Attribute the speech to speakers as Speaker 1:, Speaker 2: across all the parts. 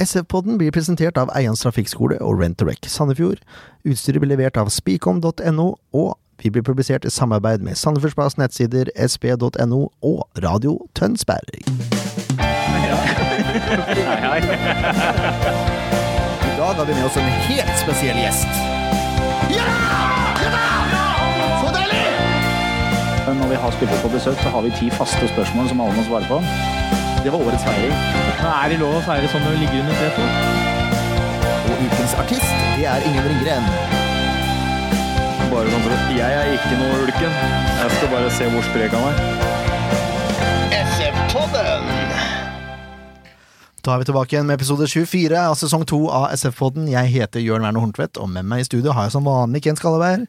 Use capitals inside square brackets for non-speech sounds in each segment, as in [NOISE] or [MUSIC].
Speaker 1: SF-podden blir presentert av Eians trafikkskole og Rent-A-Wreck Sandefjord. Utstyret blir levert av spikom.no, og vi blir publisert i samarbeid med Sandefjordsplass nettsider, sp.no og Radio Tønsberg.
Speaker 2: I dag har vi med oss en helt spesiell gjest.
Speaker 3: Eh, Når vi har spillere på besøk, så har vi ti faste spørsmål som alle må svare på.
Speaker 2: Det var årets feiring.
Speaker 4: Er det lov å feire sånn når du ligger under treet?
Speaker 2: Og ukens artist, det er Ingen Ringgren.
Speaker 3: Bare sånn for at Jeg er ikke noe ulken. Jeg skal bare se hvor sprek han er.
Speaker 1: Da er vi tilbake igjen med episode 24 av sesong 2 av SF-podden. Jeg heter Jørn Werner Horntvedt, og med meg i studio har jeg som vanlig Ken Skalleberg.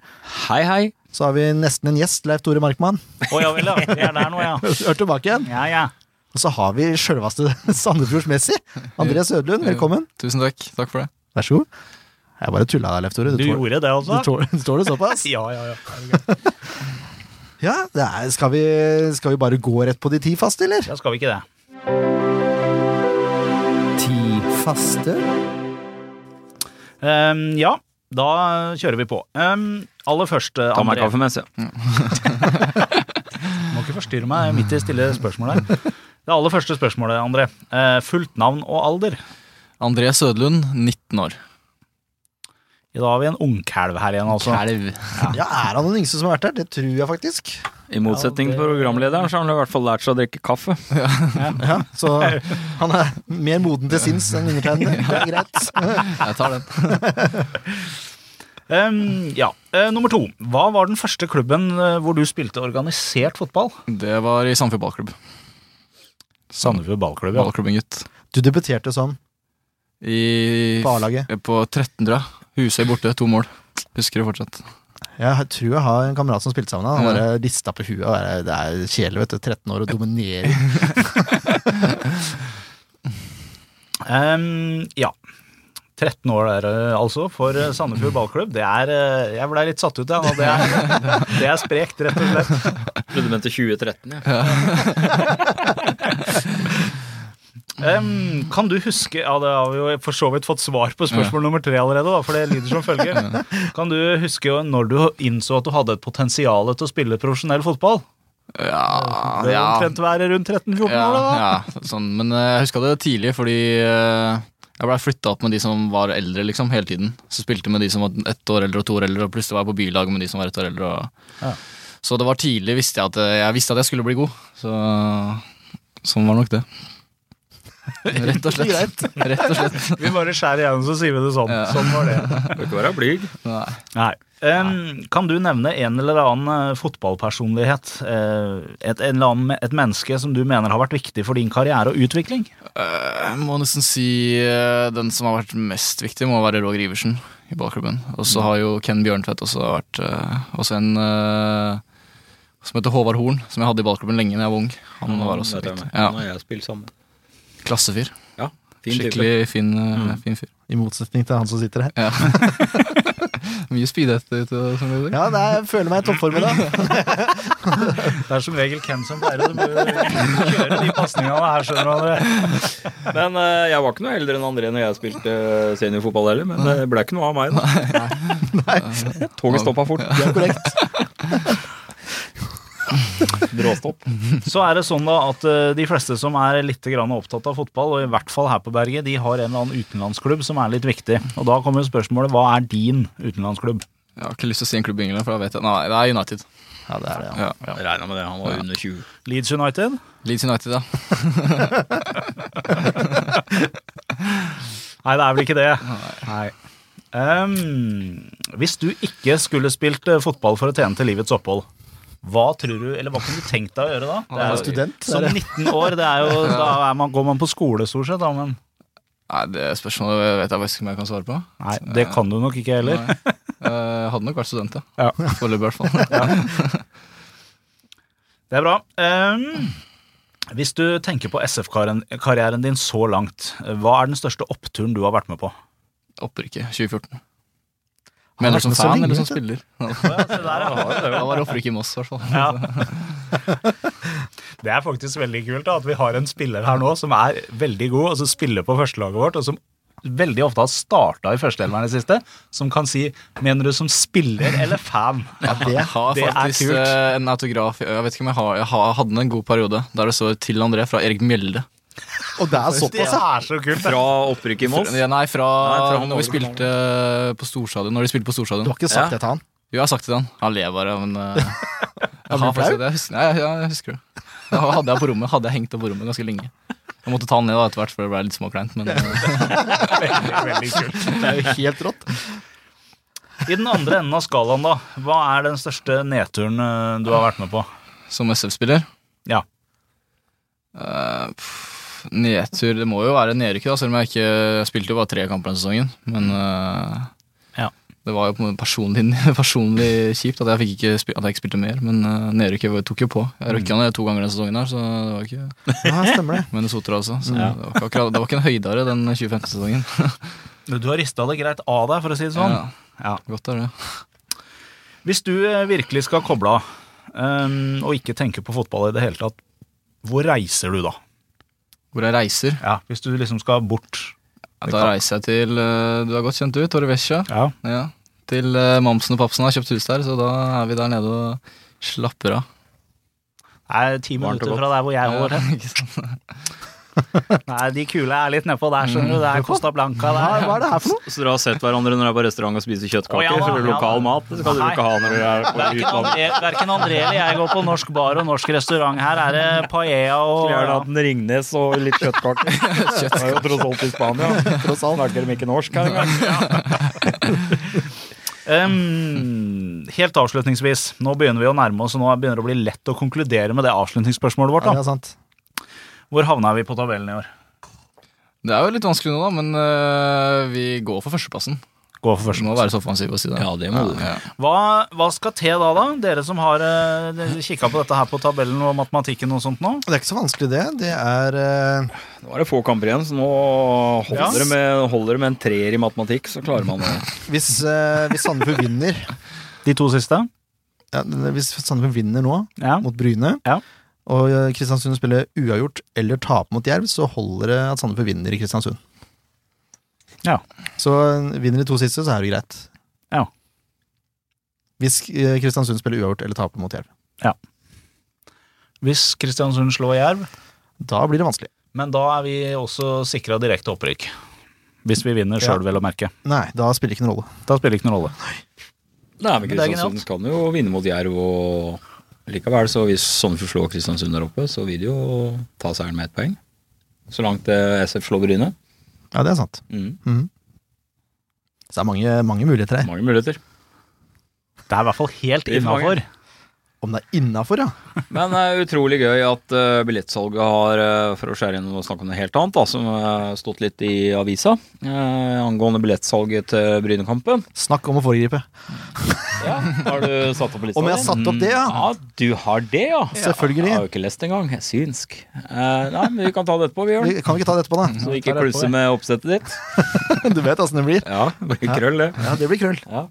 Speaker 3: Hei, hei.
Speaker 1: Så har vi nesten en gjest, Leif Tore
Speaker 3: [LAUGHS]
Speaker 1: Markmann.
Speaker 3: Å ja vel, ja. Vi er der nå, ja.
Speaker 1: Hør tilbake igjen.
Speaker 3: Ja, ja.
Speaker 1: Og så har vi sjølveste Sandefjords-Messi. Andreas Ødlund, velkommen.
Speaker 5: Tusen takk. Takk for det.
Speaker 1: Vær så god. Jeg bare tulla deg, Leif Tore.
Speaker 4: Du
Speaker 1: tål-
Speaker 4: gjorde det,
Speaker 1: du
Speaker 4: altså?
Speaker 1: tål- du tåler såpass?
Speaker 4: [LAUGHS] Ja, ja, ja.
Speaker 1: Ja, det er, skal, vi, skal vi bare gå rett på de ti faste, eller?
Speaker 4: Da skal vi ikke det.
Speaker 2: Ti faste.
Speaker 4: Ehm, ja, da kjører vi på. Ehm, aller først, eh,
Speaker 3: Ta meg
Speaker 4: André.
Speaker 3: kaffe mens, ja.
Speaker 4: Må ikke forstyrre meg midt i stille spørsmål her. Det aller første spørsmålet, André. Eh, fullt navn og alder.
Speaker 5: André Sødlund, 19 år.
Speaker 4: Da har vi en ungkalv her igjen, altså.
Speaker 5: Kalv.
Speaker 1: Ja, Er han den yngste som har vært her? Det tror jeg faktisk.
Speaker 3: I motsetning til programlederen, så har han i hvert fall lært seg å drikke kaffe.
Speaker 1: Ja, så han er mer moden til sinns enn [LAUGHS] undertegnede. Det er greit.
Speaker 5: Jeg tar den.
Speaker 4: Ehm, ja. Eh, nummer to. Hva var den første klubben eh, hvor du spilte organisert fotball?
Speaker 5: Det var i Sandefjord ballklubb.
Speaker 4: Sandefjord ballklubb,
Speaker 5: Ballklubben, gutt.
Speaker 1: Du debuterte som
Speaker 5: I,
Speaker 1: på A-laget.
Speaker 5: på 13, tror jeg. Husøy borte, to mål. Husker det fortsatt.
Speaker 1: Jeg tror jeg har en kamerat som spilte sammen. Han bare rista på huet. Og bare, det er kjedelig, vet du. 13 år og dominerer.
Speaker 4: Ehm, ja. 13 år der, eh, altså, for eh, Sandefjord ballklubb. Det er eh, Jeg blei litt satt ut, jeg. nå. Det er, [LAUGHS] det er sprekt, rett og slett.
Speaker 3: Trodde du mente 2013, ja.
Speaker 4: Ehm, kan du huske Ja, det har vi jo for så vidt fått svar på spørsmål nummer tre allerede, da, for det lyder som følger. Kan du huske jo når du innså at du hadde et potensial til å spille profesjonell fotball?
Speaker 5: Ja,
Speaker 4: Det vil
Speaker 5: Ah, ja,
Speaker 4: omtrent være rundt 13-14 år,
Speaker 5: ja,
Speaker 4: da. da.
Speaker 5: ja sånn. Men eh, jeg huska det tidlig, fordi eh, jeg blei flytta opp med de som var eldre liksom, hele tiden. Så spilte jeg med de som var ett år eldre og to år eldre, og plutselig var jeg på bylag med de som var ett år eldre. Og...
Speaker 4: Ja.
Speaker 5: Så det var tidlig visste jeg at eh, jeg visste at jeg skulle bli god. Så sånn var nok det. Rett og slett. Rett og slett.
Speaker 4: Vi bare skjærer igjennom, så sier vi det sånn. Sånn var det.
Speaker 3: Bør ikke være blyg.
Speaker 5: Nei.
Speaker 4: Nei. Ehm, kan du nevne en eller annen eh, fotballpersonlighet, eh, et, en eller annen, et menneske som du mener har vært viktig for din karriere og utvikling?
Speaker 5: Eh, Jeg må nesten si eh, den som har vært mest viktig, må være Roger Iversen i ballklubben. Og så har jo Ken Bjørntvedt også vært eh, Også en eh, som heter Håvard Horn, som jeg hadde i ballklubben lenge da jeg var ung. Han
Speaker 3: Mm,
Speaker 5: var også viktig. Ja,
Speaker 3: jeg spilt sammen.
Speaker 5: Klassefyr.
Speaker 3: Ja, fin type.
Speaker 5: Skikkelig fin, eh, fin fyr.
Speaker 1: I motsetning til han som sitter her.
Speaker 5: Ja. Mye speedhet ute og sånn. i dag.
Speaker 1: Ja, det er, jeg føler meg i toppform i dag.
Speaker 4: Det er som regel Ken som pleier å kjøre de pasningene her, skjønner du. André.
Speaker 3: Men eh, jeg var ikke noe eldre enn André når jeg spilte eh, seniorfotball heller, men det ble ikke noe av meg. da. Toget stoppa fort. Det er korrekt. Bråstopp.
Speaker 4: Så er det sånn da at eh, de fleste som er litt grann opptatt av fotball, og i hvert fall her på berget, de har en eller annen utenlandsklubb som er litt viktig. Og da kommer jo spørsmålet hva er din utenlandsklubb?
Speaker 5: Jeg har ikke lyst til å si en klubb i England, for da vet jeg Nei, det er United.
Speaker 1: [LAUGHS] Ja, det er det, ja.
Speaker 5: Ja.
Speaker 3: Regna med det, han var under 20.
Speaker 4: Leeds United?
Speaker 5: Leeds United, ja.
Speaker 4: Nei, det er vel ikke det. Nei. Ehm, hvis du ikke skulle spilt eh, fotball for å tjene til livets opphold, hva tror du, eller hva kunne du tenkt deg å gjøre da? Det
Speaker 1: Jeg
Speaker 4: er
Speaker 1: er
Speaker 4: jo-
Speaker 1: student.
Speaker 4: Som
Speaker 1: det er det.
Speaker 4: 19 år, det
Speaker 1: [LAUGHS]
Speaker 4: er jo, da er man, går man på skole stort sett, da, men
Speaker 5: Nei, det spørsmålet vet jeg faktisk ikke om jeg kan svare på.
Speaker 4: nei, det kan du nok ikke heller.
Speaker 5: Nei. Eh, hadde nok vært student, ja.
Speaker 4: Ja.
Speaker 5: Foreløpig, i hvert fall.
Speaker 4: Det er bra. Ehm, hvis du tenker på SF-karrieren din så langt, hva er den største oppturen du har vært med på?
Speaker 5: Opprykket 2014. Mener
Speaker 1: vært
Speaker 5: du som
Speaker 1: med så
Speaker 5: fan
Speaker 1: lenge,
Speaker 5: eller som
Speaker 1: vet
Speaker 5: spiller?
Speaker 4: Ja, se der, ja.
Speaker 5: Da var det opprykk i Moss, i hvert fall.
Speaker 4: Ja. [LAUGHS] Det er faktisk veldig kult da, at vi har en spiller her nå som er veldig god, og som spiller på førstelaget vårt, og som veldig ofte har starta i førsteelveren i det siste, som kan si 'mener du som spiller eller [LAUGHS] fan'?
Speaker 5: Jeg har
Speaker 4: det er
Speaker 5: faktisk
Speaker 4: kult.
Speaker 5: eh, en autograf Jeg vet ikke om jeg har Jeg har- hadde den en god periode der det står 'Til André' fra Erik Mjelde.
Speaker 1: Og det er
Speaker 4: Det
Speaker 1: såpass, ja!
Speaker 4: er så kult! da.
Speaker 3: Fra opprykket i Moss.
Speaker 5: Ja, Nei,
Speaker 3: Nei,
Speaker 5: fra
Speaker 3: fra
Speaker 5: når vi
Speaker 3: Norge.
Speaker 5: spilte eh, på Storstadion. Når de spilte på
Speaker 1: Du
Speaker 5: Storstadion.
Speaker 1: har ikke sagt
Speaker 3: Ja.
Speaker 1: det til han.
Speaker 5: Jo, jeg har sagt det til han. Han ler bare, men [LAUGHS] eh,
Speaker 1: blir
Speaker 5: Jeg
Speaker 1: flau?
Speaker 5: har faktisk det. Jeg husker, nei, jeg, jeg husker det. Det hadde jeg på rommet. Hadde jeg hengt opp på rommet ganske lenge. Jeg måtte ta den ned da etter hvert, for det ble litt småkleint. Men eh,
Speaker 4: Veldig, veldig kult.
Speaker 1: Det er jo helt rått.
Speaker 4: I den andre enden av skalaen, da, hva er den største nedturen eh, du har vært med på?
Speaker 5: som SF-spiller
Speaker 4: Ja.
Speaker 5: eh, pff, Nedtur Det må jo være nedrykk, da, selv om jeg ikke jeg spilte jo bare tre kamper den sesongen. Men eh,
Speaker 4: Ja.
Speaker 5: det var jo på en måte personlig, [LAUGHS] personlig kjipt at jeg, fikk ikke, spi- at jeg ikke spilte mer. Men eh, nedrykket var- tok jo på. Jeg
Speaker 4: Mm.
Speaker 5: røkka ned to ganger den sesongen her, så det var ikke
Speaker 1: Ja, stemmer det.
Speaker 5: Minnesota altså. Så det, var ikke akkurat, det var ikke en høydare den 2015-sesongen.
Speaker 4: Du har rista det greit av deg, for å si det sånn.
Speaker 5: Ja,
Speaker 4: Ja.
Speaker 5: godt er det.
Speaker 4: Hvis du eh, virkelig skal koble av, eh, og ikke tenke på fotball i det hele tatt, hvor reiser du da?
Speaker 5: Hvor jeg reiser.
Speaker 4: Ja, Hvis du liksom skal bort
Speaker 5: Ja, Da reiser jeg til eh, Du er godt kjent, du. Torre Vesja.
Speaker 4: Ja,
Speaker 5: Ja. Til eh, mamsen og papsen har kjøpt hus der, så da er vi der nede og slapper av.
Speaker 4: Nei, ti
Speaker 3: Varmt og
Speaker 4: minutter
Speaker 3: godt.
Speaker 4: fra der hvor jeg bor.
Speaker 5: [LAUGHS] ikke sant?
Speaker 4: [LAUGHS] Nei, de kule er litt nedpå der, skjønner du. Det er Costa Blanca
Speaker 1: Hva,
Speaker 4: der.
Speaker 1: Mm. hva er det her for noe?
Speaker 3: Så dere har sett hverandre når dere er på restaurant og spiser
Speaker 4: Å,
Speaker 3: kjøttkaker?
Speaker 4: ja da,
Speaker 3: for det er
Speaker 4: ja da.
Speaker 3: lokal mat det skal dere ikke ha når dere er på
Speaker 4: Verken [LAUGHS]
Speaker 3: utlandet.
Speaker 4: André, verken Eh, André eller jeg går på norsk bar og norsk restaurant. Her er det paella og
Speaker 3: Skulle gjerne hatt en Ringnes og litt kjøttkaker. Det er jo tross alt i Spania. Tross alt snakker de ikke norsk her engang.
Speaker 4: Ehm, Helt avslutningsvis, nå begynner vi å nærme oss, og nå begynner det å bli lett å konkludere med det avslutningsspørsmålet vårt.
Speaker 1: Ja, det
Speaker 4: Da.
Speaker 1: er sant.
Speaker 4: Hvor havna vi på tabellen i år?
Speaker 5: Det er jo litt vanskelig nå, da, men eh, vi går for førsteplassen.
Speaker 4: Gå for
Speaker 5: Vi må være så offensive og si det.
Speaker 3: Ja, det må du.
Speaker 5: Ja, ja.
Speaker 4: Hva, hva skal til da, da? Dere som har uh, kikka på dette her på tabellen og matematikken og sånt nå?
Speaker 1: Det er ikke så vanskelig, det. Det er eh,
Speaker 3: Nå er det få kamper igjen, så nå
Speaker 4: Ja.
Speaker 3: holder det med, holder det med en treer i matematikk, så klarer man det.
Speaker 4: [LAUGHS]
Speaker 1: Hvis, eh, hvis Sandefjord vinner
Speaker 4: De to siste?
Speaker 1: ja, Hvis Sandefjord vinner nå,
Speaker 4: Ja.
Speaker 1: mot Bryne,
Speaker 4: Ja.
Speaker 1: og eh, Kristiansund spiller uavgjort eller taper mot Jerv, så holder det at Sandefjord vinner i Kristiansund.
Speaker 4: Ja.
Speaker 1: Så eh, vinner de to siste, så er det greit.
Speaker 4: Ja.
Speaker 1: Hvis eh, Kristiansund spiller uavgjort eller taper mot Jerv.
Speaker 4: Hvis Kristiansund slår Jerv,
Speaker 1: Da blir det vanskelig.
Speaker 4: men da er vi også sikra direkte opprykk. Hvis vi vinner sjøl, vel å merke.
Speaker 1: Nei, da spiller det ikke noen rolle.
Speaker 4: Da spiller det ikke noen rolle.
Speaker 3: Nei, men
Speaker 4: Men det er
Speaker 3: Kristiansund kan jo vinne mot Jerv og likevel, så hvis Sandefjord slår Kristiansund der oppe, så vil de jo ta seieren med ett poeng. Så langt eh, SF slår Bryne.
Speaker 1: Ja, det er sant.
Speaker 3: Mm.
Speaker 1: Så det er mange, mange muligheter her.
Speaker 3: Mange muligheter.
Speaker 4: Det er i hvert fall helt
Speaker 3: Vi får mange.
Speaker 4: innafor.
Speaker 1: Om det er innafor, ja.
Speaker 3: Men det er utrolig gøy at eh, billettsalget har, eh, for å skjære inn og snakke om noe helt annet, da, som har stått litt i avisa, eh, angående billettsalget til Brynekampen.
Speaker 1: Snakk om å foregripe.
Speaker 3: Ja, har du satt opp
Speaker 1: Om jeg har
Speaker 3: billettsalget?
Speaker 1: satt opp det, ja!
Speaker 3: Ja, du har det, ja. Jeg har
Speaker 1: Selvfølgelig.
Speaker 3: jo ikke lest det engang. Jeg er synsk. Eh, nei, men vi kan ta det etterpå,
Speaker 1: Vi
Speaker 3: Bjørn.
Speaker 1: kan vi ikke ta det etterpå,
Speaker 5: [LAUGHS]
Speaker 1: da?
Speaker 3: Så ikke klusse med oppsettet ditt.
Speaker 1: Du vet åssen det blir.
Speaker 3: Ja, det blir krøll, det.
Speaker 1: Ja, det blir krøll.
Speaker 3: Ja.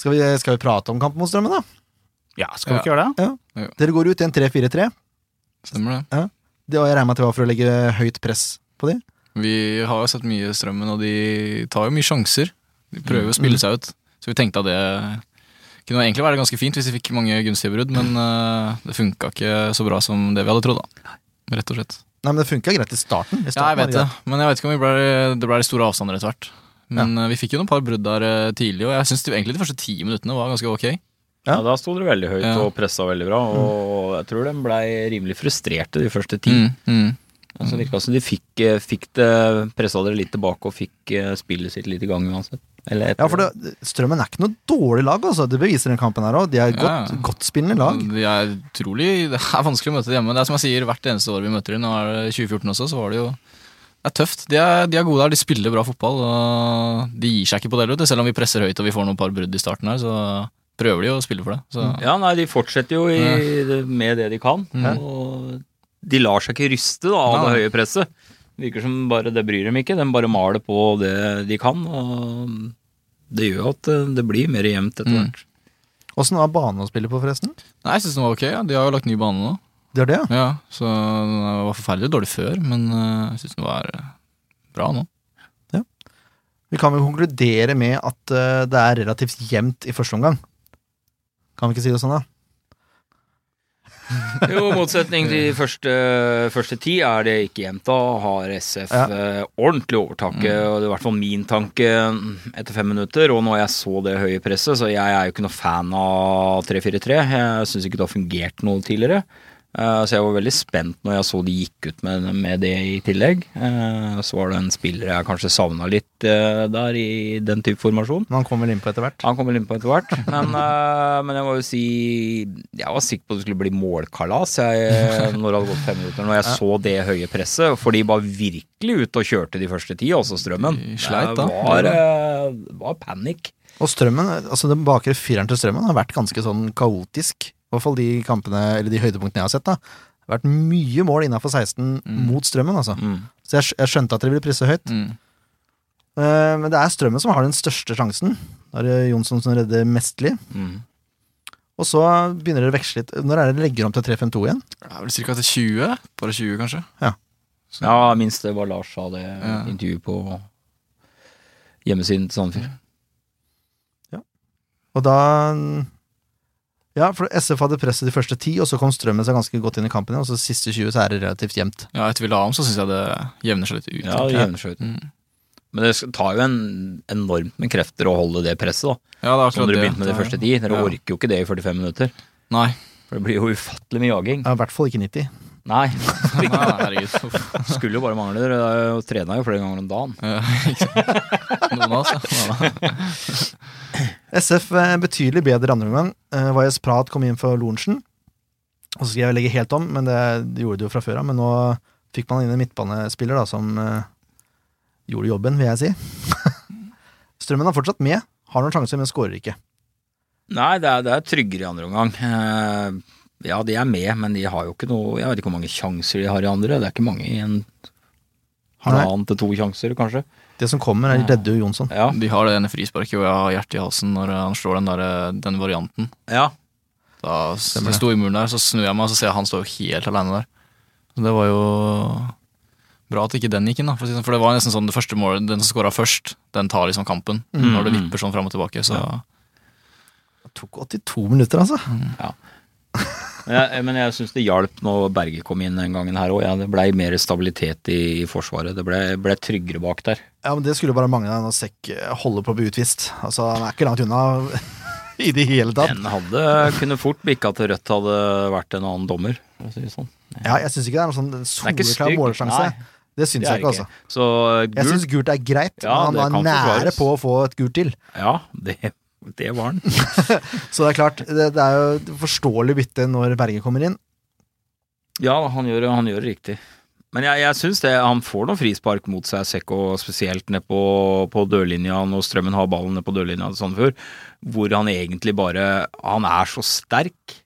Speaker 1: Skal vi, skal vi prate om kampen mot strømmen, da?
Speaker 4: Ja, skal vi ikke gjøre det?
Speaker 1: Dere går ut i en 3-4-3.
Speaker 5: Stemmer det.
Speaker 1: Det var jeg regner med at det var for å legge høyt press på de.
Speaker 5: Vi har jo sett mye Strømmen, og de tar jo mye sjanser. De prøver å spille seg ut. Så vi tenkte at det kunne egentlig være ganske fint hvis de fikk mange gunstige brudd, men eh, det funka ikke så bra som det vi hadde trodd, da. Rett og slett.
Speaker 1: Nei, men det funka greit i starten. I starten
Speaker 5: Ja, jeg vet
Speaker 1: var
Speaker 5: det, men jeg vet ikke om vi ble, det ble store avstander etter hvert. Men eh, vi fikk jo noen par brudd der eh, tidlig, og jeg syns egentlig de første ti minuttene var ganske ok.
Speaker 3: Ja, Da sto dere veldig høyt
Speaker 5: Ja.
Speaker 3: og pressa veldig bra, og jeg tror de blei rimelig frustrerte de første ti.
Speaker 5: Mm, mm.
Speaker 3: Altså, det virka som de fikk, eh, fikk det pressa dere litt tilbake og fikk eh, spillet sitt litt i gang uansett. Eller etter
Speaker 1: Ja, for det, Strømmen er ikke noe dårlig lag, altså. Det beviser den kampen her òg. De er
Speaker 5: Ja, Mm.
Speaker 1: godt,
Speaker 5: ja.
Speaker 1: godt spillende lag.
Speaker 5: De [LAUGHS] er utrolig Det er vanskelig å møte dem hjemme. Det er som jeg sier hvert eneste år vi møter dem. Nå er det 2014 også, så var det jo Det er tøft. De er, de er gode der, de spiller bra fotball. Og de gir seg ikke på det, vet du. selv om vi presser høyt og vi får noen par brudd i starten her, så prøver de jo å spille for det. Så
Speaker 3: Ja, nei, de fortsetter jo i, med det de kan. Og de lar seg ikke ryste da, av det
Speaker 5: Mm. Nei.
Speaker 3: høye presset. Det Virker som bare det bryr dem ikke. De bare maler på det de kan. Og det gjør jo at eh, det blir mer jevnt etter
Speaker 5: Mm.
Speaker 3: hvert.
Speaker 1: Åssen var banen å spille på, forresten?
Speaker 5: Nei, jeg syns den var ok. Ja. De har jo lagt ny bane nå.
Speaker 1: Det er det, ja.
Speaker 5: Ja, så Den var forferdelig dårlig før, men eh, jeg syns den var eh, bra nå.
Speaker 1: Vi kan vel konkludere med at eh, det er relativt jevnt i første omgang. Kan vi ikke si det sånn, da?
Speaker 3: [LAUGHS] Jo, i motsetning til de første, første ti er det ikke jevnt. Da har SF
Speaker 1: Ja.
Speaker 3: eh, ordentlig overtaket, og det er i hvert fall min tanke mm, etter fem minutter. Og når jeg så det høye presset, så jeg er jo ikke noe fan av 3-4-3. Jeg syns ikke det har fungert noe tidligere. Eh, Så jeg var veldig spent når jeg så de gikk ut med, med det i tillegg. Eh, Så var det en spiller jeg kanskje savna litt eh, der, i den type formasjon.
Speaker 1: Men han kommer vel innpå etter hvert.
Speaker 3: Han kommer vel innpå etter hvert. [LAUGHS] Men, eh, men jeg må jo si Jeg var sikker på at det skulle bli målkalas jeg, eh, når det hadde gått fem minutter. Når jeg så det høye presset. For de var virkelig ute og kjørte de første ti, også Strømmen.
Speaker 5: De sleit, da.
Speaker 3: Det var, eh, var panikk.
Speaker 1: Og strømmen, altså den bakre fireren til strømmen har vært ganske sånn kaotisk. I hvert fall de kampene, eller de høydepunktene jeg har sett. da. Det har vært mye mål innafor 16 mot strømmen, altså.
Speaker 3: Mm,
Speaker 1: Så jeg, skj- jeg skjønte at dere ville prisse høyt.
Speaker 5: Mm.
Speaker 1: Eh, men det er strømmen som har den største sjansen. Da er det Jonsson som redder mestlig.
Speaker 3: Mm.
Speaker 1: Og så begynner dere å veksle litt. Når er det dere legger om til 3-5-2 igjen?
Speaker 5: Det er vel ca. til 20? Bare 20, kanskje?
Speaker 3: Ja, minst det var Lars sa det
Speaker 5: Ja.
Speaker 3: i intervjuet på hjemmesiden til Sandefjord.
Speaker 1: Og da Ja, for SF hadde presset de første ti, og så kom strømmen seg ganske godt inn i kampen igjen. Og så siste 20 så er det relativt jevnt.
Speaker 5: Ja, etter vi la om, så syns jeg det jevner seg litt ut.
Speaker 3: Ja,
Speaker 5: egentlig.
Speaker 3: jevnskøyten.
Speaker 5: Mm.
Speaker 3: Men det sk- tar jo en enormt med krefter å holde det presset, da.
Speaker 5: ja det er akkurat
Speaker 3: Som dere
Speaker 5: det.
Speaker 3: begynte med de første ti. Dere
Speaker 5: Ja.
Speaker 3: orker jo ikke det i 45 minutter.
Speaker 5: Nei. [LAUGHS]
Speaker 3: For det blir jo ufattelig mye jaging.
Speaker 1: Ja, I hvert fall ikke 90.
Speaker 3: Nei,
Speaker 5: Nei, herregud. Uff.
Speaker 3: skulle jo bare mangle. Dere er jo- trener jo flere ganger om dagen.
Speaker 5: Ja, [LAUGHS] ikke sant. Noen av oss, ja. Nei, nei.
Speaker 1: SF eh, betydelig bedre andre omgang. Eh, Vajas Prat kom inn for Lorentzen. Og så skal jeg legge helt om, men det, det gjorde det jo fra før av. Men nå fikk man inn en midtbanespiller da, som eh, gjorde jobben, vil jeg si. [LAUGHS] Strømmen er fortsatt med, har noen sjanser, men skårer ikke.
Speaker 3: Nei, det er, det er tryggere i andre omgang. Eh, Ja, de er med, men de har jo ikke noe Jeg vet ikke hvor mange sjanser de har i andre. Det er ikke mange i en halvannen til to sjanser, kanskje.
Speaker 1: Det som kommer, er redder jo Jonsson.
Speaker 3: Ja,
Speaker 5: De har det ene frisparket hvor jeg har hjertet i halsen når eh, han slår den, der, den varianten.
Speaker 3: ja.
Speaker 5: Da s-
Speaker 1: Stemmer det.
Speaker 5: jeg sto i muren der, så snur jeg meg, og så ser jeg han står jo helt alene der. Så det var jo bra at ikke den gikk inn, da. For, å si det sånn, for det var nesten sånn det første målet, den som scora først, den tar liksom kampen.
Speaker 1: Mm.
Speaker 5: Når det vipper sånn fram og tilbake, så
Speaker 1: Det tok 82 minutter, altså.
Speaker 3: Men jeg, eh, men jeg syns det hjalp når Berge kom inn den gangen her òg. Ja, det blei mer stabilitet i, i Forsvaret. Det blei ble tryggere bak der.
Speaker 1: Ja, men Det skulle bare mangle når Sekk holder på å bli utvist. Altså, Han er ikke langt unna [LAUGHS] i det hele tatt.
Speaker 3: Den hadde kunne fort bikka til Rødt hadde vært en annen dommer, for å si det sånn.
Speaker 1: Ja, Jeg syns ikke det er noen sånn
Speaker 3: er ikke
Speaker 1: soleklar
Speaker 3: stygg.
Speaker 1: målsjanse.
Speaker 3: Nei,
Speaker 1: Det syns jeg ikke, altså.
Speaker 3: Så
Speaker 1: Jeg
Speaker 3: gult
Speaker 1: syns gult er greit,
Speaker 3: Ja,
Speaker 1: men
Speaker 3: det
Speaker 1: han var
Speaker 3: kan
Speaker 1: nære
Speaker 3: forsvares.
Speaker 1: på å få et gult til.
Speaker 3: Ja, det, det var den.
Speaker 1: Så det er klart, det, det er jo et forståelig bytte når Berge kommer inn.
Speaker 3: Ja, han gjør, han gjør det riktig. Men jeg, jeg syns det. Han får noen frispark mot seg, Sekko, spesielt nede på, på dørlinja når Strømmen har ballen nede på dørlinja til Sandefjord, hvor han egentlig bare Han er så sterk.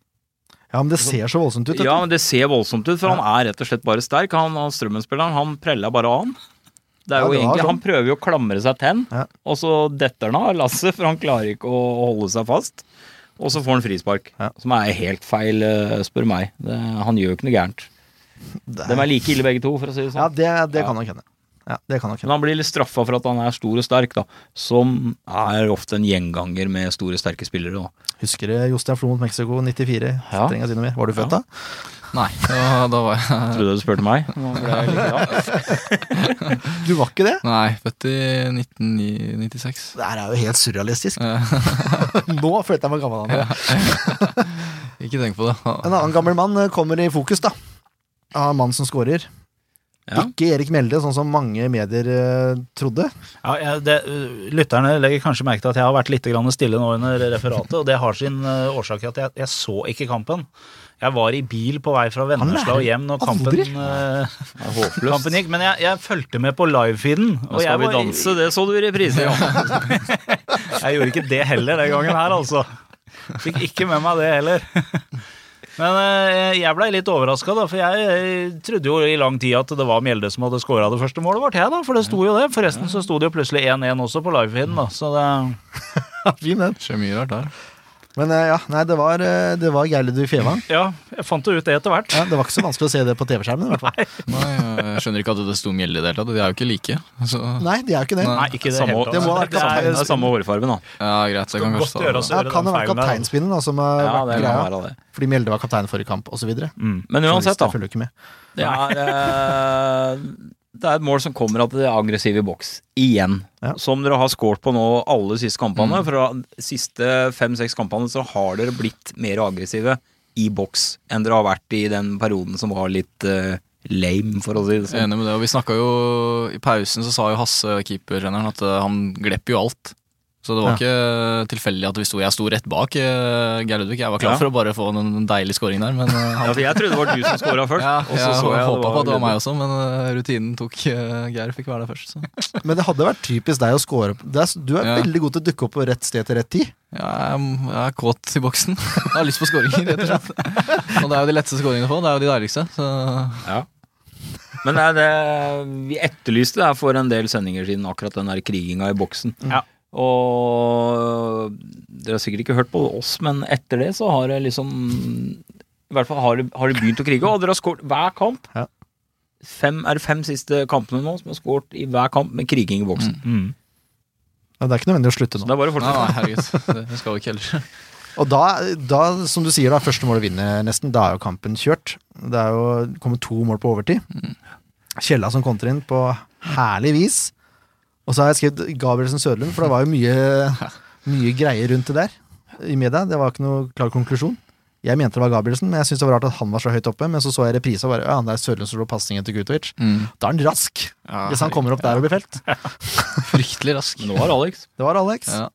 Speaker 1: Ja, men det ser så voldsomt ut. vet du.
Speaker 3: Ja, men det ser voldsomt ut, for han er rett og slett bare sterk. Han, han Strømmen-spilleren, han preller bare av han. Det er
Speaker 1: Ja, det
Speaker 3: jo
Speaker 1: var
Speaker 3: egentlig,
Speaker 1: sånn.
Speaker 3: Han prøver jo å klamre seg til han,
Speaker 1: Ja.
Speaker 3: og så detter han av lasset, for han klarer ikke å å holde seg fast. Og så får han frispark,
Speaker 1: Ja.
Speaker 3: som er helt feil, eh, spør meg. Det, han gjør jo ikke noe gærent.
Speaker 1: det,
Speaker 3: De er like ille begge to, for å si det
Speaker 1: ja,
Speaker 3: sånn.
Speaker 1: det, det
Speaker 3: Ja.
Speaker 1: kan nok hende. Ja, det kan nok hende.
Speaker 3: Men han blir litt straffa for at han er stor og sterk, da. Som er ofte en gjenganger med store, sterke spillere, da.
Speaker 1: Husker du Jostein Flo mot Mexico 94?
Speaker 3: Ja.
Speaker 1: Trenger jeg si noe mer? Var du født
Speaker 3: Ja.
Speaker 1: da?
Speaker 5: Nei, da, da var jeg [LAUGHS]
Speaker 3: Trodde du spurte
Speaker 1: [LAUGHS]
Speaker 3: meg?
Speaker 1: Du var ikke det?
Speaker 5: Nei, født i 1996.
Speaker 1: Det her er jo helt surrealistisk.
Speaker 5: Eh,
Speaker 1: [LAUGHS] Nå følte jeg meg gammel. Andre.
Speaker 5: Ikke tenk
Speaker 1: [LAUGHS]
Speaker 5: på det.
Speaker 1: En annen gammel mann eh, kommer i fokus, da. Av en mann som scorer.
Speaker 3: Ja.
Speaker 1: Ikke Erik Melde, sånn som mange medier eh, trodde.
Speaker 4: Ja, jeg, det, øh, lytterne legger kanskje merke til at jeg har vært litt grann stille nå under referatet, og det har sin øh, årsak i at jeg, jeg så ikke kampen. Jeg var i bil på vei fra Vennesla
Speaker 1: lærer
Speaker 4: og hjem når kampen,
Speaker 1: aldri.
Speaker 4: øh,
Speaker 3: Det er håpløst.
Speaker 4: kampen gikk, men jeg, jeg fulgte med på livefeeden.
Speaker 3: Nå skal vi danse, det så du i reprise, ja.
Speaker 4: [LAUGHS] Jeg gjorde ikke det heller den gangen her, altså. Fikk ikke med meg det heller. Men eh, jeg blei litt overraska, for jeg eh, trodde jo i lang tid at det var Mjelde som hadde scora det første målet vårt, jeg, da. For det sto jo det. Forresten så sto det jo plutselig 1-1 også på livefeeden, da. Så det
Speaker 1: Fin den.
Speaker 5: Skjer mye rart der.
Speaker 1: Men eh, ja, nei, det var, eh, det var Geirlid i Fevang.
Speaker 4: Ja, jeg fant jo ut det etter hvert.
Speaker 1: Ja, det var ikke så vanskelig å se det på TV-skjermen, i hvert fall.
Speaker 5: Nei, jeg skjønner ikke at det sto Mjelde i det hele tatt. De er jo ikke like. Så,
Speaker 1: Nei, det er jo ikke det.
Speaker 4: Nei, ikke i det
Speaker 3: Samme,
Speaker 4: hele tatt.
Speaker 1: det må være
Speaker 3: det er
Speaker 1: kapteinen.
Speaker 3: samme hårfargen, da.
Speaker 5: ja, greit, jeg kan
Speaker 4: Godt
Speaker 5: kanskje ta
Speaker 4: gjøre
Speaker 5: det.
Speaker 4: oss
Speaker 1: Ja,
Speaker 4: gjøre
Speaker 1: kan det
Speaker 4: den
Speaker 1: være
Speaker 4: feilen der. altså.
Speaker 1: kapteinspinnen da, som har
Speaker 3: Ja, det
Speaker 1: vært
Speaker 3: kan
Speaker 1: greia?
Speaker 3: være det.
Speaker 1: Fordi Mjelde var kaptein forrige kamp, osv.
Speaker 5: Mm.
Speaker 3: Men uansett, da.
Speaker 1: Følger jo ikke med.
Speaker 3: Det er, eh, det er et mål som kommer at det er aggressiv i boks. Igjen.
Speaker 1: Ja.
Speaker 3: Som dere har scoret på nå alle siste kampene.
Speaker 5: Mm.
Speaker 3: Fra siste fem-seks kampene så har dere blitt mer aggressive i boks enn dere har vært i den perioden som var litt eh, lame, for å si det
Speaker 5: Jeg er
Speaker 3: sånn.
Speaker 5: Enig med det, og vi snakket jo I pausen så sa jo Hasse, keepertreneren, at eh, han glepp jo alt. Så det var
Speaker 1: Ja.
Speaker 5: ikke tilfeldig at vi sto, jeg sto rett bak eh, Geir Ludvig. Jeg var klar
Speaker 3: Ja.
Speaker 5: for å bare få en en deilig scoring der, men eh,
Speaker 3: Ja,
Speaker 5: han,
Speaker 3: for jeg trodde det var du som scora [LAUGHS] først.
Speaker 5: ja,
Speaker 3: og så
Speaker 5: jeg
Speaker 3: så jeg
Speaker 5: håpa på at det var
Speaker 3: Ludvig.
Speaker 5: meg også, men eh, rutinen tok eh, Geir fikk være der først. Så.
Speaker 1: Men det hadde vært typisk deg å score. Det er, du er
Speaker 5: Ja.
Speaker 1: veldig god til å dukke opp på rett sted til rett tid.
Speaker 5: Ja, jeg, jeg er kåt i boksen. [LAUGHS] Jeg har lyst på skåringer, rett og slett. Og det er jo de letteste skåringene å få. Det er jo de deiligste. Så
Speaker 3: Ja. Men det er det, vi etterlyste det her for en del sendinger siden, akkurat den der kriginga i boksen.
Speaker 4: Ja.
Speaker 3: Og dere har sikkert ikke hørt på oss, men etter det så har det liksom I hvert fall har det, har det begynt å krige, og dere har skåret hver kamp.
Speaker 1: Ja.
Speaker 3: Fem, er det fem siste kampene nå som har skåret i hver kamp med kriging i boksen?
Speaker 4: Mm.
Speaker 1: Ja, Det er ikke nødvendig å slutte
Speaker 3: Så
Speaker 1: nå.
Speaker 3: det er bare å
Speaker 5: nei,
Speaker 3: fortsette.
Speaker 5: nei, herregud. Det skal vi ikke heller.
Speaker 1: Og da, da, som du sier, da, første målet vinner nesten. Da er jo kampen kjørt. Det er jo det kommer to mål på overtid. Kjella som kontrer inn på herlig vis. Og så har jeg skrevet Gabrielsen Sørlund, for det var jo mye, mye greier rundt det der i media. Det var ikke noe klar konklusjon. Jeg mente det var Gabrielsen, men jeg syntes det var rart at han var så høyt oppe. Men så så jeg reprisa og bare ja, det er Sørlund som slår pasningen til Gutovic.
Speaker 5: Mm.
Speaker 1: Da er han rask,
Speaker 5: Ja,
Speaker 1: hvis han kommer opp der og blir felt.
Speaker 5: Fryktelig rask.
Speaker 3: Men nå har Alex
Speaker 1: Det var Alex.
Speaker 5: Ja.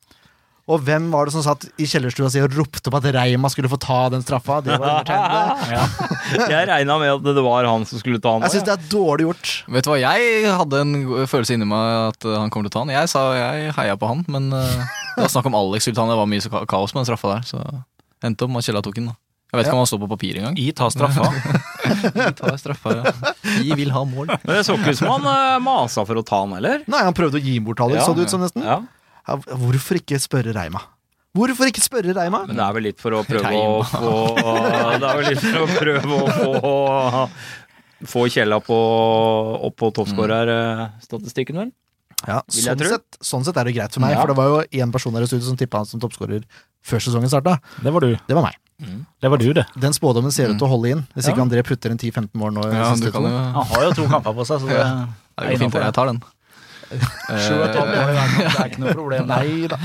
Speaker 1: Og hvem var det som satt i kjellerstua si og ropte på at Reima skulle få ta den straffa? Det var
Speaker 5: [LAUGHS]
Speaker 1: undertegnede.
Speaker 3: Jeg regna med at det var han som skulle ta han.
Speaker 1: Jeg
Speaker 3: nå,
Speaker 1: syns det er dårlig gjort.
Speaker 5: Vet du hva, jeg hadde en go- følelse inni meg at eh, han kommer til å ta han. Jeg sa jeg heia på han, men eh, det var snakk om Alex skulle ta han. Det var mye så ka- kaos med den straffa der, så endte opp med at Kjella tok den. da. Jeg vet ikke om han står på papir engang.
Speaker 4: I ta straffa.
Speaker 5: Vi tar straffa, [LAUGHS] ja. Vi vil ha mål.
Speaker 3: Men det så ikke ut som han eh, masa for å ta han heller.
Speaker 1: Nei, han prøvde å gi bort Alex,
Speaker 3: Ja,
Speaker 1: så det ut som nesten.
Speaker 3: Ja.
Speaker 1: Ja, hvorfor ikke spørre Reima? Hvorfor ikke spørre Reima?
Speaker 3: Men det er vel litt for å prøve å få [LAUGHS] Det er vel litt for å prøve å få få Kjella på, opp på toppskårerstatistikken, vel?
Speaker 1: Ja,
Speaker 3: Vil jeg
Speaker 1: sånn
Speaker 3: tro.
Speaker 1: sett, sånn sett er det greit for meg,
Speaker 3: Ja.
Speaker 1: for det var jo én person her i studio som tippa han som toppskårer før sesongen starta.
Speaker 4: Det var du.
Speaker 1: Det var meg.
Speaker 4: Det var du, det.
Speaker 1: Den spådommen ser ut til å holde inn, hvis
Speaker 4: Ja.
Speaker 1: ikke André putter en 10-15 mål nå. i
Speaker 5: Ja,
Speaker 1: siste
Speaker 5: du kan
Speaker 1: to.
Speaker 5: jo
Speaker 4: Han har jo to kamper på seg, så det
Speaker 5: Ja. Det går fint, jeg tar den.
Speaker 1: Sju og et halvt mål
Speaker 5: Eh,
Speaker 1: i hver kamp, det er ikke noe problem. Nei da.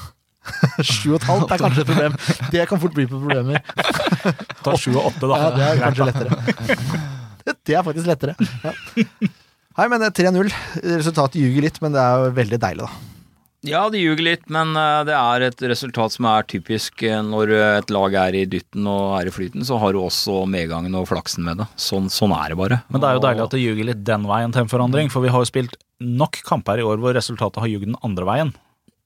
Speaker 1: [LAUGHS] Sju og et halvt er kanskje et problem. Det kan fort bli på problemer.
Speaker 4: Ta sju og åtte, da.
Speaker 1: Ja, det er kanskje lettere. Det er faktisk lettere. Ja. Nei, men det er 3-0. Resultatet ljuger litt, men det er jo veldig deilig, da.
Speaker 3: Ja, de ljuger litt, men eh, det er et resultat som er typisk eh, når eh, et lag er i dytten og er i flyten, så har du også medgangen og flaksen med det. Sånn, sånn er det bare.
Speaker 4: Men det er jo deilig at det ljuger litt den veien til en forandring, for vi har jo spilt nok kamper i år hvor resultatet har ljuget den andre veien.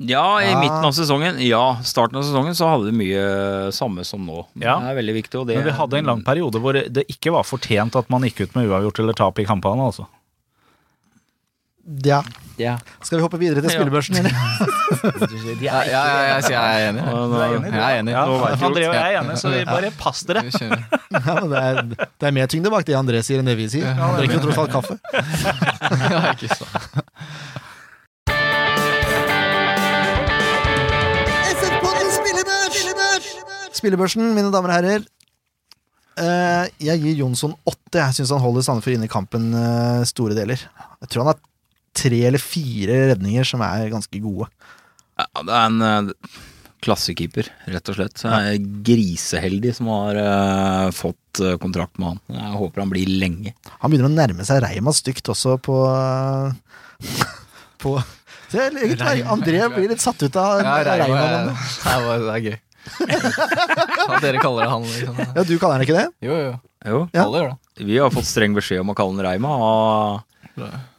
Speaker 3: Ja, i
Speaker 1: Ja.
Speaker 3: midten av sesongen, ja, starten av sesongen, så hadde vi mye eh, samme som nå. Men
Speaker 4: Ja.
Speaker 3: Det er veldig viktig, og det
Speaker 4: Men vi hadde en lang periode hvor det ikke var fortjent at man gikk ut med uavgjort eller tap i kampene, altså.
Speaker 1: Ja.
Speaker 3: [LAUGHS] Ja.
Speaker 1: Skal vi hoppe videre til
Speaker 3: Ja.
Speaker 1: spillebørsen, eller?
Speaker 5: Ja, ja, ja, jeg sier jeg er enig. Jeg er enig.
Speaker 4: Ja,
Speaker 3: nå vet vi
Speaker 4: André og
Speaker 5: alt.
Speaker 4: jeg er enige, så vi bare pass dere.
Speaker 5: Vi kjører.
Speaker 1: [LAUGHS]
Speaker 5: [LAUGHS]
Speaker 1: Ja, men det, er, det er mer tyngde bak det André sier, enn det vi sier. Han drikker jo tross alt kaffe.
Speaker 5: Ja, ikke sant.
Speaker 1: Spillebørsen, mine damer og herrer. Eh, jeg gir Jonsson åtte. Jeg syns han holder Sandefjord inne i kampen eh, store deler. Jeg tror han har tre eller fire redninger som er ganske gode.
Speaker 3: Ja, det er en eh, klassekeeper, rett og slett. Så Jeg er griseheldig som har eh, fått eh, kontrakt med han. Jeg håper han blir lenge.
Speaker 1: Han begynner å nærme seg Reima stygt også på På Se, jeg liker det. André blir litt satt ut av
Speaker 5: Ja, Reima
Speaker 1: Reima.
Speaker 5: er- [LAUGHS]
Speaker 1: nå.
Speaker 5: det er bare- det er gøy. At dere kaller det han, liksom.
Speaker 1: Ja, du kaller han ikke det?
Speaker 5: Jo, jo.
Speaker 3: Jo,
Speaker 1: Ja.
Speaker 5: Alle gjør det.
Speaker 3: vi har fått streng beskjed om å kalle han Reima av,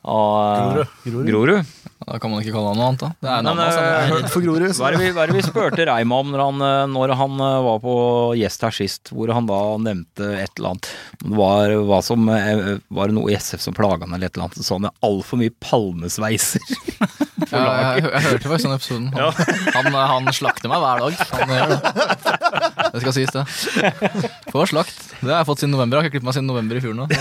Speaker 3: av Grorud.
Speaker 1: Grorud.
Speaker 3: eh, Grorud.
Speaker 5: Da kan man ikke kalle han noe annet, da. Det er altså.
Speaker 3: Men,
Speaker 5: navnet hans.
Speaker 3: eh,
Speaker 5: da.
Speaker 1: Redd for Grorud.
Speaker 3: Hva er det vi, hva er det vi spurte Reima om når han, eh, når han eh, var på gjest her sist, hvor han da nevnte et eller annet? Om Det var, hva som, eh, var det noe i SF som plaga han eller et eller annet? Så han er altfor mye palmesveiser.
Speaker 5: Ja, jeg, jeg, jeg hørte faktisk den episoden. Han, han, eh, han slakter meg hver dag. Han eh, gjør det. Det skal sies, det. Får slakt. Det har jeg fått siden november. Jeg har ikke klippet meg siden november i fjor nå. Men, eh,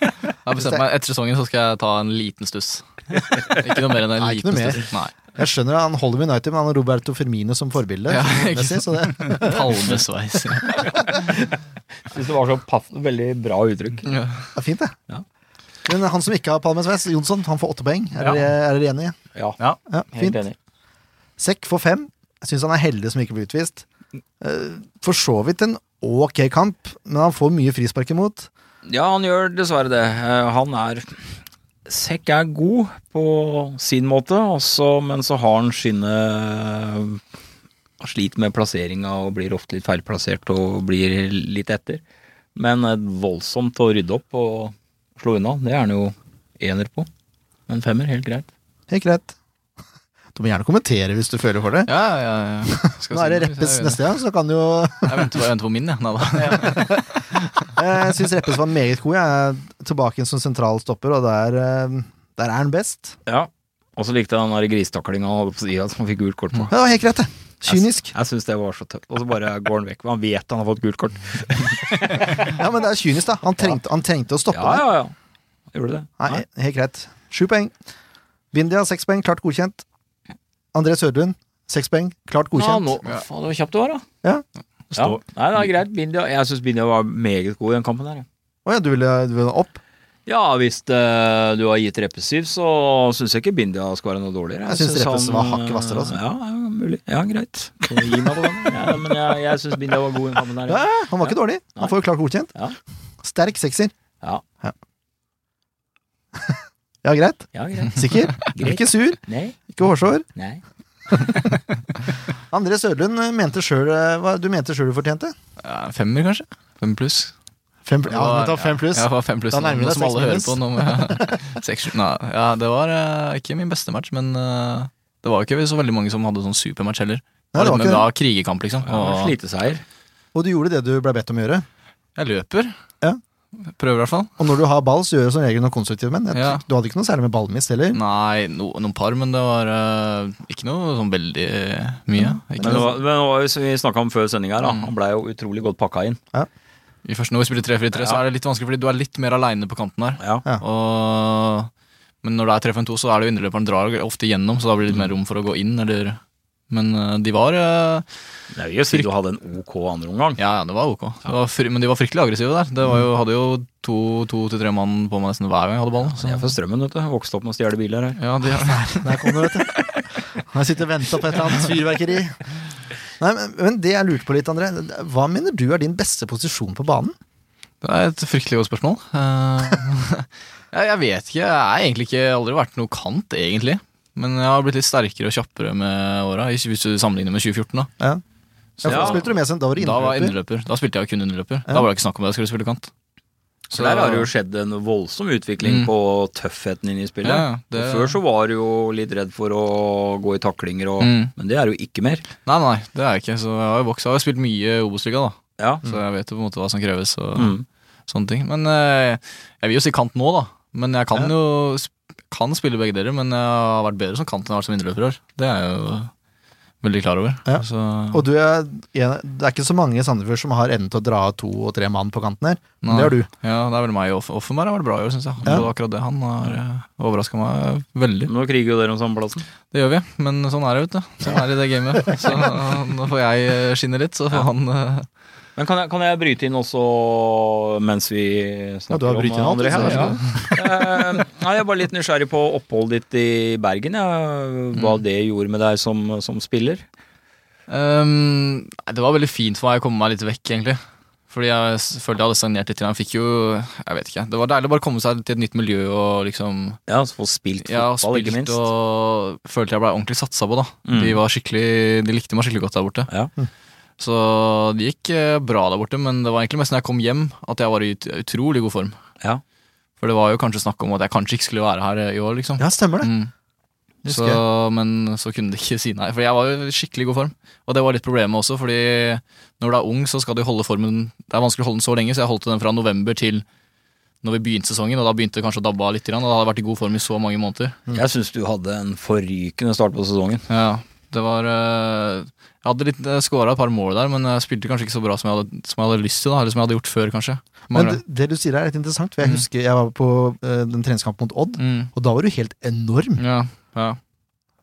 Speaker 5: Jeg har bestemt meg etter sesongen så skal jeg ta en liten stuss. Ikke noe mer enn en
Speaker 1: Nei, ikke noe
Speaker 5: liten
Speaker 1: mer.
Speaker 5: stuss. Nei.
Speaker 1: Jeg skjønner han holder med United, men han har Roberto Firmino som forbilde.
Speaker 5: Ja, ikke
Speaker 1: fotballmessig, så det,
Speaker 5: Palmesveis.
Speaker 3: Syns det var så paff, veldig bra uttrykk.
Speaker 5: Ja.
Speaker 1: det er fint, det.
Speaker 3: Ja.
Speaker 1: Men han som ikke har palmesveis, Jonsson, han får åtte poeng. Er dere er dere enige?
Speaker 3: Ja,
Speaker 4: Ja.
Speaker 1: Ja,
Speaker 3: helt
Speaker 1: fint.
Speaker 3: enig.
Speaker 1: Sekk får fem. Jeg syns han er heldig som ikke blir utvist. Eh, For så vidt en ok kamp, men han får mye frispark imot.
Speaker 3: Ja, han gjør dessverre det. Eh, Han er Sekk er god på sin måte, også, men så har han sine Han sliter med plasseringa og blir ofte litt feilplassert og blir litt etter. Men eh, voldsomt å rydde opp og slå unna, det er han jo ener på. Men femmer, helt greit.
Speaker 1: Helt greit. Du må gjerne kommentere hvis du føler for det.
Speaker 5: Ja, ja, ja. Skal
Speaker 1: Nå er det
Speaker 5: si noe hvis jeg
Speaker 1: Reppes
Speaker 5: gjør det.
Speaker 1: neste gang, så kan du jo
Speaker 5: Jeg venter på, jeg venter på min, jeg. Nei da.
Speaker 1: Jeg syns Reppes var meget god. Jeg er tilbake som sentral stopper, og der, eh, der er han best.
Speaker 3: Ja. Og så likte jeg den der grisetaklinga han hadde på sida som han fikk gult kort på.
Speaker 1: Ja, Det var helt greit, det. Kynisk.
Speaker 3: Mm. Jeg syns det var så tøft. Og så bare går han vekk. Han vet han har fått gult kort.
Speaker 1: Ja, Men det er kynisk, da. Han trengte, han trengte å stoppe
Speaker 3: Ja,
Speaker 1: det.
Speaker 3: ja, ja. Gjorde det.
Speaker 1: Nei, helt greit. Sju poeng. Bindia, seks poeng. Klart godkjent. André Sødlund, seks poeng. Klart
Speaker 3: Ja,
Speaker 1: godkjent.
Speaker 3: nå, faen, det var kjapt du var, da. Ja.
Speaker 4: Stå.
Speaker 3: Nei, det er greit. Bindia, jeg syns Bindia var meget god i den kampen her. ja.
Speaker 1: Å ja, du ville, du ville opp?
Speaker 3: Ja, hvis eh, du har gitt Reppe syv, så syns jeg ikke Bindia skal være noe dårligere.
Speaker 1: Jeg synes Reppe
Speaker 3: han, eh,
Speaker 1: var hakket hvassere, altså.
Speaker 3: Ja, ja, mulig. Ja, greit. Kan du Gi meg
Speaker 1: [LAUGHS]
Speaker 3: på den. Ja, men jeg, jeg syns Bindia var god i den kampen her.
Speaker 1: Ja,
Speaker 3: Ja.
Speaker 1: ja, han var ikke dårlig.
Speaker 3: Nei.
Speaker 1: Han får jo klart godkjent.
Speaker 3: Ja.
Speaker 1: Sterk sekser.
Speaker 3: Ja.
Speaker 1: [LAUGHS] Ja, greit.
Speaker 3: ja, greit.
Speaker 5: [LAUGHS]
Speaker 1: Sikker?
Speaker 3: Greit.
Speaker 1: Ikke sur,
Speaker 3: Nei.
Speaker 1: ikke hårsår.
Speaker 3: Nei.
Speaker 1: André Sødlund eh, mente sjøl Du mente sjøl du fortjente?
Speaker 5: Ja, Femmer, kanskje? Fem pluss.
Speaker 1: Fem, pl- ja,
Speaker 5: Det var-
Speaker 1: men ta fem pluss.
Speaker 5: Ja, det var fem pluss
Speaker 1: Da nærmer du deg
Speaker 5: som alle hører
Speaker 1: seks
Speaker 5: på. Nå
Speaker 1: [LAUGHS]
Speaker 5: med, seks, sju- nei, ja, det var eh, ikke min beste match, men eh, det var jo ikke så veldig mange som hadde sånn supermatch heller.
Speaker 1: Nei, det var
Speaker 5: men
Speaker 1: ikke
Speaker 5: det
Speaker 1: det.
Speaker 5: var krigerkamp, liksom.
Speaker 3: Ja,
Speaker 5: Og
Speaker 3: Sliteseier.
Speaker 1: Og du gjorde det du ble bedt om å gjøre.
Speaker 5: jeg løper.
Speaker 1: Ja.
Speaker 5: Prøver i hvert fall.
Speaker 1: Og når du har ball, så gjør du som regel noe konstruktivt, men jeg tror-
Speaker 5: Ja.
Speaker 1: du hadde ikke noe særlig med ballmist heller.
Speaker 5: Nei, no, noen par, men det var eh, ikke noe sånn veldig mye. Ikke
Speaker 3: Men det
Speaker 5: noe,
Speaker 3: var, men det var jo som vi snakka om før sending her, da. Han blei jo utrolig godt pakka inn.
Speaker 5: I første når vi spiller 3-4-3, så
Speaker 3: Ja.
Speaker 5: er det litt vanskelig, fordi du er litt mer aleine på kanten her.
Speaker 3: Ja.
Speaker 1: Ja.
Speaker 5: Og, men når det er 3-5-2, så er det jo indreløperen drar ofte gjennom, så da blir det
Speaker 1: Mm.
Speaker 5: litt mer rom for å gå inn, eller Men eh, de var eh,
Speaker 3: Det er jo å si du hadde en ok andreomgang.
Speaker 5: Ja, ja, det var ok. Det var fry, men de var fryktelig aggressive der. Det
Speaker 3: Mm.
Speaker 5: var jo, hadde jo to, to til tre mann på meg nesten hver gang jeg hadde ballen.
Speaker 3: Jeg er
Speaker 5: Så.
Speaker 3: fra Strømmen, vet du. Vokste opp med å stjele biler her. [LAUGHS]
Speaker 5: Ja, de,
Speaker 1: Der kom du, vet du. Han sitter og venter på et eller annet fyrverkeri. Nei, men, men det jeg lurte på litt, André. Hva mener du er din beste posisjon på banen?
Speaker 5: det er et fryktelig godt spørsmål. Eh, [LAUGHS] jeg, jeg vet ikke. Jeg har egentlig ikke aldri vært noe kant, egentlig. Men jeg har blitt litt sterkere og kjappere med åra, i- hvis du sammenligner med 2014. Da
Speaker 1: Ja. Ja, for
Speaker 3: Ja.
Speaker 1: da spilte du med seg, da var du
Speaker 5: Da var jeg
Speaker 1: innløper.
Speaker 5: inneløper. Da spilte jeg jo kun inneløper.
Speaker 1: Ja.
Speaker 5: Da var det ikke snakk om at jeg skulle spille kant.
Speaker 3: Så der har det jo skjedd en voldsom utvikling
Speaker 5: Mm.
Speaker 3: på tøffheten inne i spillet.
Speaker 5: Ja, ja, det-
Speaker 3: Og Før så var du jo litt redd for å gå i taklinger og
Speaker 5: Mm.
Speaker 3: Men det er jo ikke mer.
Speaker 5: Nei, nei, det er jeg ikke. Så jeg har jo vokst. Jeg har jo spilt mye Obos-liga, da.
Speaker 3: Ja.
Speaker 5: Så jeg vet jo på en måte hva som kreves og
Speaker 3: Mm.
Speaker 5: sånne ting. Men eh, jeg vil jo si kant nå, da. Men jeg kan
Speaker 1: Ja.
Speaker 5: jo sp- kan spille begge deler, men jeg har vært bedre som kant enn jeg har vært som indreløper i år. Det er jeg jo veldig klar over.
Speaker 1: Ja.
Speaker 5: Så,
Speaker 1: Og du er, det er ikke så mange i Sandefjord som har evnen til å dra to og tre mann på kanten her. Men
Speaker 5: Nei.
Speaker 1: Det har du.
Speaker 5: ja, det er vel meg. Off Offenberg har vært bra i år, syns jeg.
Speaker 1: Ja.
Speaker 5: Både Akkurat det. Han har overraska meg veldig.
Speaker 3: Nå kriger jo dere om samme plassen.
Speaker 5: Det gjør vi, men sånn er det, vet du. Sånn er det i det
Speaker 1: [LAUGHS]
Speaker 5: gamet. Så nå får jeg eh, skinne litt, så får han eh,
Speaker 3: Men kan jeg, kan jeg bryte inn også mens vi
Speaker 1: Ja, du har
Speaker 3: snakker
Speaker 1: brytt inn
Speaker 3: om
Speaker 1: alt,
Speaker 3: andre
Speaker 1: så
Speaker 3: her?
Speaker 1: vær så
Speaker 3: Ja. [LAUGHS] Eh, Nei, jeg er bare litt nysgjerrig på oppholdet ditt i Bergen. Ja. Hva det gjorde med deg som, som spiller.
Speaker 5: Ehm, nei, det var veldig fint for meg å komme meg litt vekk, egentlig. Fordi jeg s- følte jeg hadde stagnert litt. Jeg fikk jo, jeg vet ikke, Det var deilig å bare komme seg til et nytt miljø og liksom
Speaker 3: Ja, så få spilt fotball,
Speaker 5: Ja, og
Speaker 3: ikke
Speaker 5: spilt
Speaker 3: minst.
Speaker 5: og følte jeg ble ordentlig satsa på, da.
Speaker 3: Mm.
Speaker 5: De, var skikkelig, de likte meg skikkelig godt der borte.
Speaker 3: Ja.
Speaker 5: Så det gikk eh, bra der borte, men det var egentlig mest når jeg kom hjem at jeg var i ut- utrolig god form.
Speaker 3: Ja.
Speaker 5: For det var jo kanskje snakk om at jeg kanskje ikke skulle være her eh, i år, liksom.
Speaker 1: Ja, stemmer det.
Speaker 5: Mm.
Speaker 1: [LAUGHS] Husker
Speaker 5: Så, men så kunne de ikke si nei, for jeg var jo i skikkelig god form. Og det var litt problemet også, fordi når du er ung, så skal du holde formen Det er vanskelig å holde den så lenge, så jeg holdt den fra november til når vi begynte sesongen, og da begynte det kanskje å dabbe av litt. grann, Og da hadde jeg vært i god form i så mange måneder.
Speaker 3: Jeg syns du hadde en forrykende start på sesongen.
Speaker 5: Ja, det var øh, Jeg hadde litt skåra et par mål der, men jeg spilte kanskje ikke så bra som jeg hadde, som jeg hadde lyst til, da, eller som jeg hadde gjort før, kanskje.
Speaker 1: Men
Speaker 5: Mangler-
Speaker 1: det, det du sier er litt interessant, for jeg husker jeg var på eh, den treningskampen mot Odd,
Speaker 5: mm,
Speaker 1: og da var du helt enorm.
Speaker 5: ja, ja.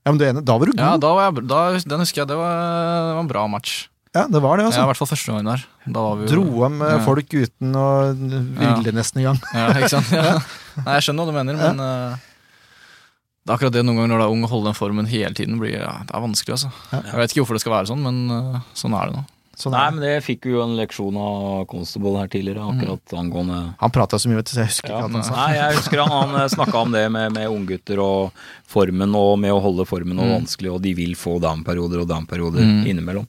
Speaker 1: Ja, men du er enig, da var du
Speaker 5: Mm. ja
Speaker 1: god.
Speaker 5: da var jeg, da, den husker jeg. Det var, det var en bra match.
Speaker 1: Ja, det var det,
Speaker 5: Ja, I
Speaker 1: altså.
Speaker 5: hvert fall første gangen der. Da var vi jo
Speaker 1: Dro ham eh,
Speaker 5: Ja.
Speaker 1: folk uten å ville nesten i gang.
Speaker 5: Ja, ikke sant? Ja. Nei, jeg skjønner hva du mener, men eh, det er akkurat det noen ganger når du er ung og holder den formen hele tiden. Blir, ja, det er vanskelig, altså.
Speaker 1: Ja.
Speaker 5: Jeg vet ikke hvorfor det skal være sånn, men eh, sånn er det nå.
Speaker 1: [LAUGHS] Sånn
Speaker 3: Nei,
Speaker 1: er det.
Speaker 3: men det Mm. fikk vi jo en leksjon av Constable her tidligere, akkurat angående
Speaker 1: Han prata så mye, vet du, så jeg husker
Speaker 3: ja,
Speaker 1: ikke alt han sa.
Speaker 3: Nei, jeg husker han, han snakka om det med, med unggutter og formen, og med å holde formen og
Speaker 5: Mm.
Speaker 3: vanskelig, og de vil få down-perioder og down-perioder
Speaker 5: Mm.
Speaker 3: innimellom.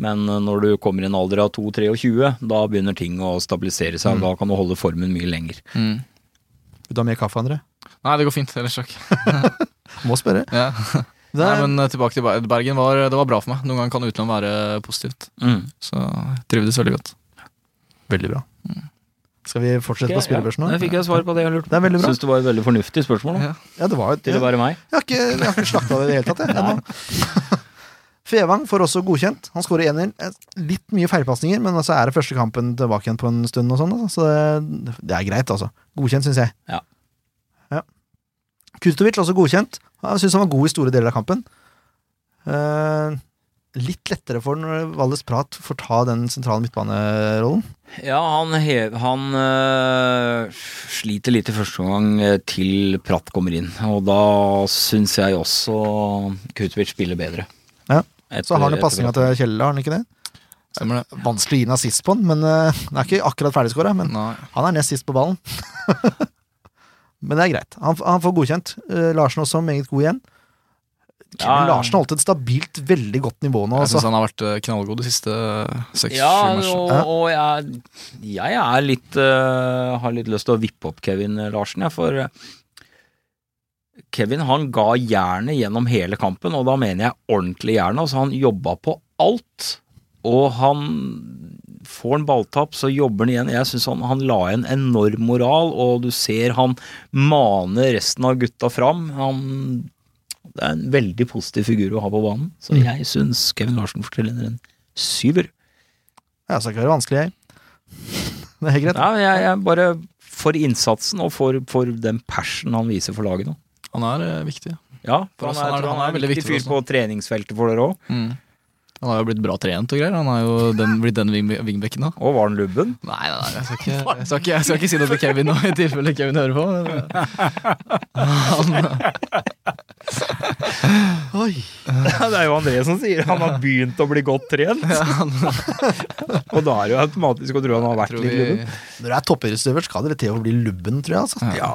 Speaker 3: Men eh, når du kommer i en alder av 2-23, da begynner ting å stabilisere seg, og da kan du holde formen mye lenger.
Speaker 5: Mm.
Speaker 1: Vil du ha mer kaffe, André?
Speaker 5: Nei, det går fint. Ellers takk.
Speaker 1: Må spørre.
Speaker 5: Ja.
Speaker 1: Det
Speaker 5: Nei,
Speaker 1: er,
Speaker 5: men eh, tilbake til Ber- Bergen. Var, det var bra for meg. Noen ganger kan utland være positivt.
Speaker 3: Mm.
Speaker 5: Så jeg trivdes veldig godt.
Speaker 1: Veldig bra. Skal vi fortsette på
Speaker 3: Ok,
Speaker 1: spillebørsen nå?
Speaker 3: Ja, da fikk jeg svar på det jeg lurte på.
Speaker 1: Det er veldig bra.
Speaker 3: Syns det var et veldig fornuftig spørsmål. Da.
Speaker 5: Ja.
Speaker 1: Ja, det var jo et,
Speaker 3: Til å være meg.
Speaker 1: Jeg har ikke, jeg har ikke slakta det i det hele tatt, jeg. ennå. [LAUGHS] Fevang får også godkjent. Han skårer 1-1. Litt mye feilpasninger, men altså er det første kampen tilbake igjen på en stund, og sånn, altså. så det, det er greit, altså. Godkjent, syns jeg.
Speaker 3: Ja.
Speaker 1: Ja. Kurtovic også godkjent. Jeg syns han var god i store deler av kampen. Eh, litt lettere for når Valles Prat får ta den sentrale midtbanerollen.
Speaker 3: Ja, han, hev, han øh, sliter litt i første omgang øh, til Pratt kommer inn. Og da syns jeg også Kutovic spiller bedre.
Speaker 1: Ja,
Speaker 3: Etter-
Speaker 1: Så har han jo pasninga
Speaker 3: etter-
Speaker 1: til Kjelle, har han ikke det?
Speaker 5: Stemmer det?
Speaker 1: Vanskelig å gi en assist på den, men eh, den er ikke akkurat ferdigskåra. Men
Speaker 5: Nei.
Speaker 1: Han er nest sist på ballen. [LAUGHS] Men det er greit. Han, han får godkjent. Eh, Larsen også meget god igjen. Kevin
Speaker 3: Ja, ja.
Speaker 1: Larsen har holdt et stabilt veldig godt nivå nå.
Speaker 5: Jeg
Speaker 1: Altså.
Speaker 5: syns han har vært eh, knallgod de siste seks-sju
Speaker 3: Ja,
Speaker 5: matchene.
Speaker 3: og, og jeg, jeg er litt øh, har litt lyst til å vippe opp Kevin Larsen, jeg, for øh, Kevin han ga jernet gjennom hele kampen, og da mener jeg ordentlig jernet. Altså, han jobba på alt, og han får en balltapp, så jobber han igjen. Jeg syns han, han la igjen enorm moral, og du ser han maner resten av gutta fram. Han det er en veldig positiv figur å ha på banen, så jeg syns Kevin Larsen forteller en syver.
Speaker 1: Jeg skal ikke være vanskelig, jeg. [LAUGHS] Det er helt greit.
Speaker 3: Ja, jeg, jeg bare for innsatsen og for, for den passion han viser for laget nå.
Speaker 5: Han er eh, viktig.
Speaker 3: Ja,
Speaker 5: For
Speaker 3: for
Speaker 5: oss,
Speaker 3: han, er, jeg tror han er en
Speaker 5: veldig
Speaker 3: viktig
Speaker 5: viktig
Speaker 3: fyr
Speaker 5: for
Speaker 3: på treningsfeltet for dere òg.
Speaker 5: Mm. Han har jo blitt bra trent og greier. Han er jo den, blitt den wing- wingbacken nå.
Speaker 3: Og var han [LAUGHS] lubben?
Speaker 5: Nei, nei, nei jeg, skal ikke, jeg, skal ikke, jeg skal ikke si noe til Kevin nå, i tilfelle Kevin hører på. Men,
Speaker 3: det er jo André som sier han har begynt å bli godt trent. [LAUGHS] og da er det jo automatisk å tro han har vært
Speaker 5: tror
Speaker 3: litt lubben.
Speaker 5: vi,
Speaker 1: Når du er toppidrettsutøver, skal dere til å bli lubben, tror jeg. Altså.
Speaker 3: Ja.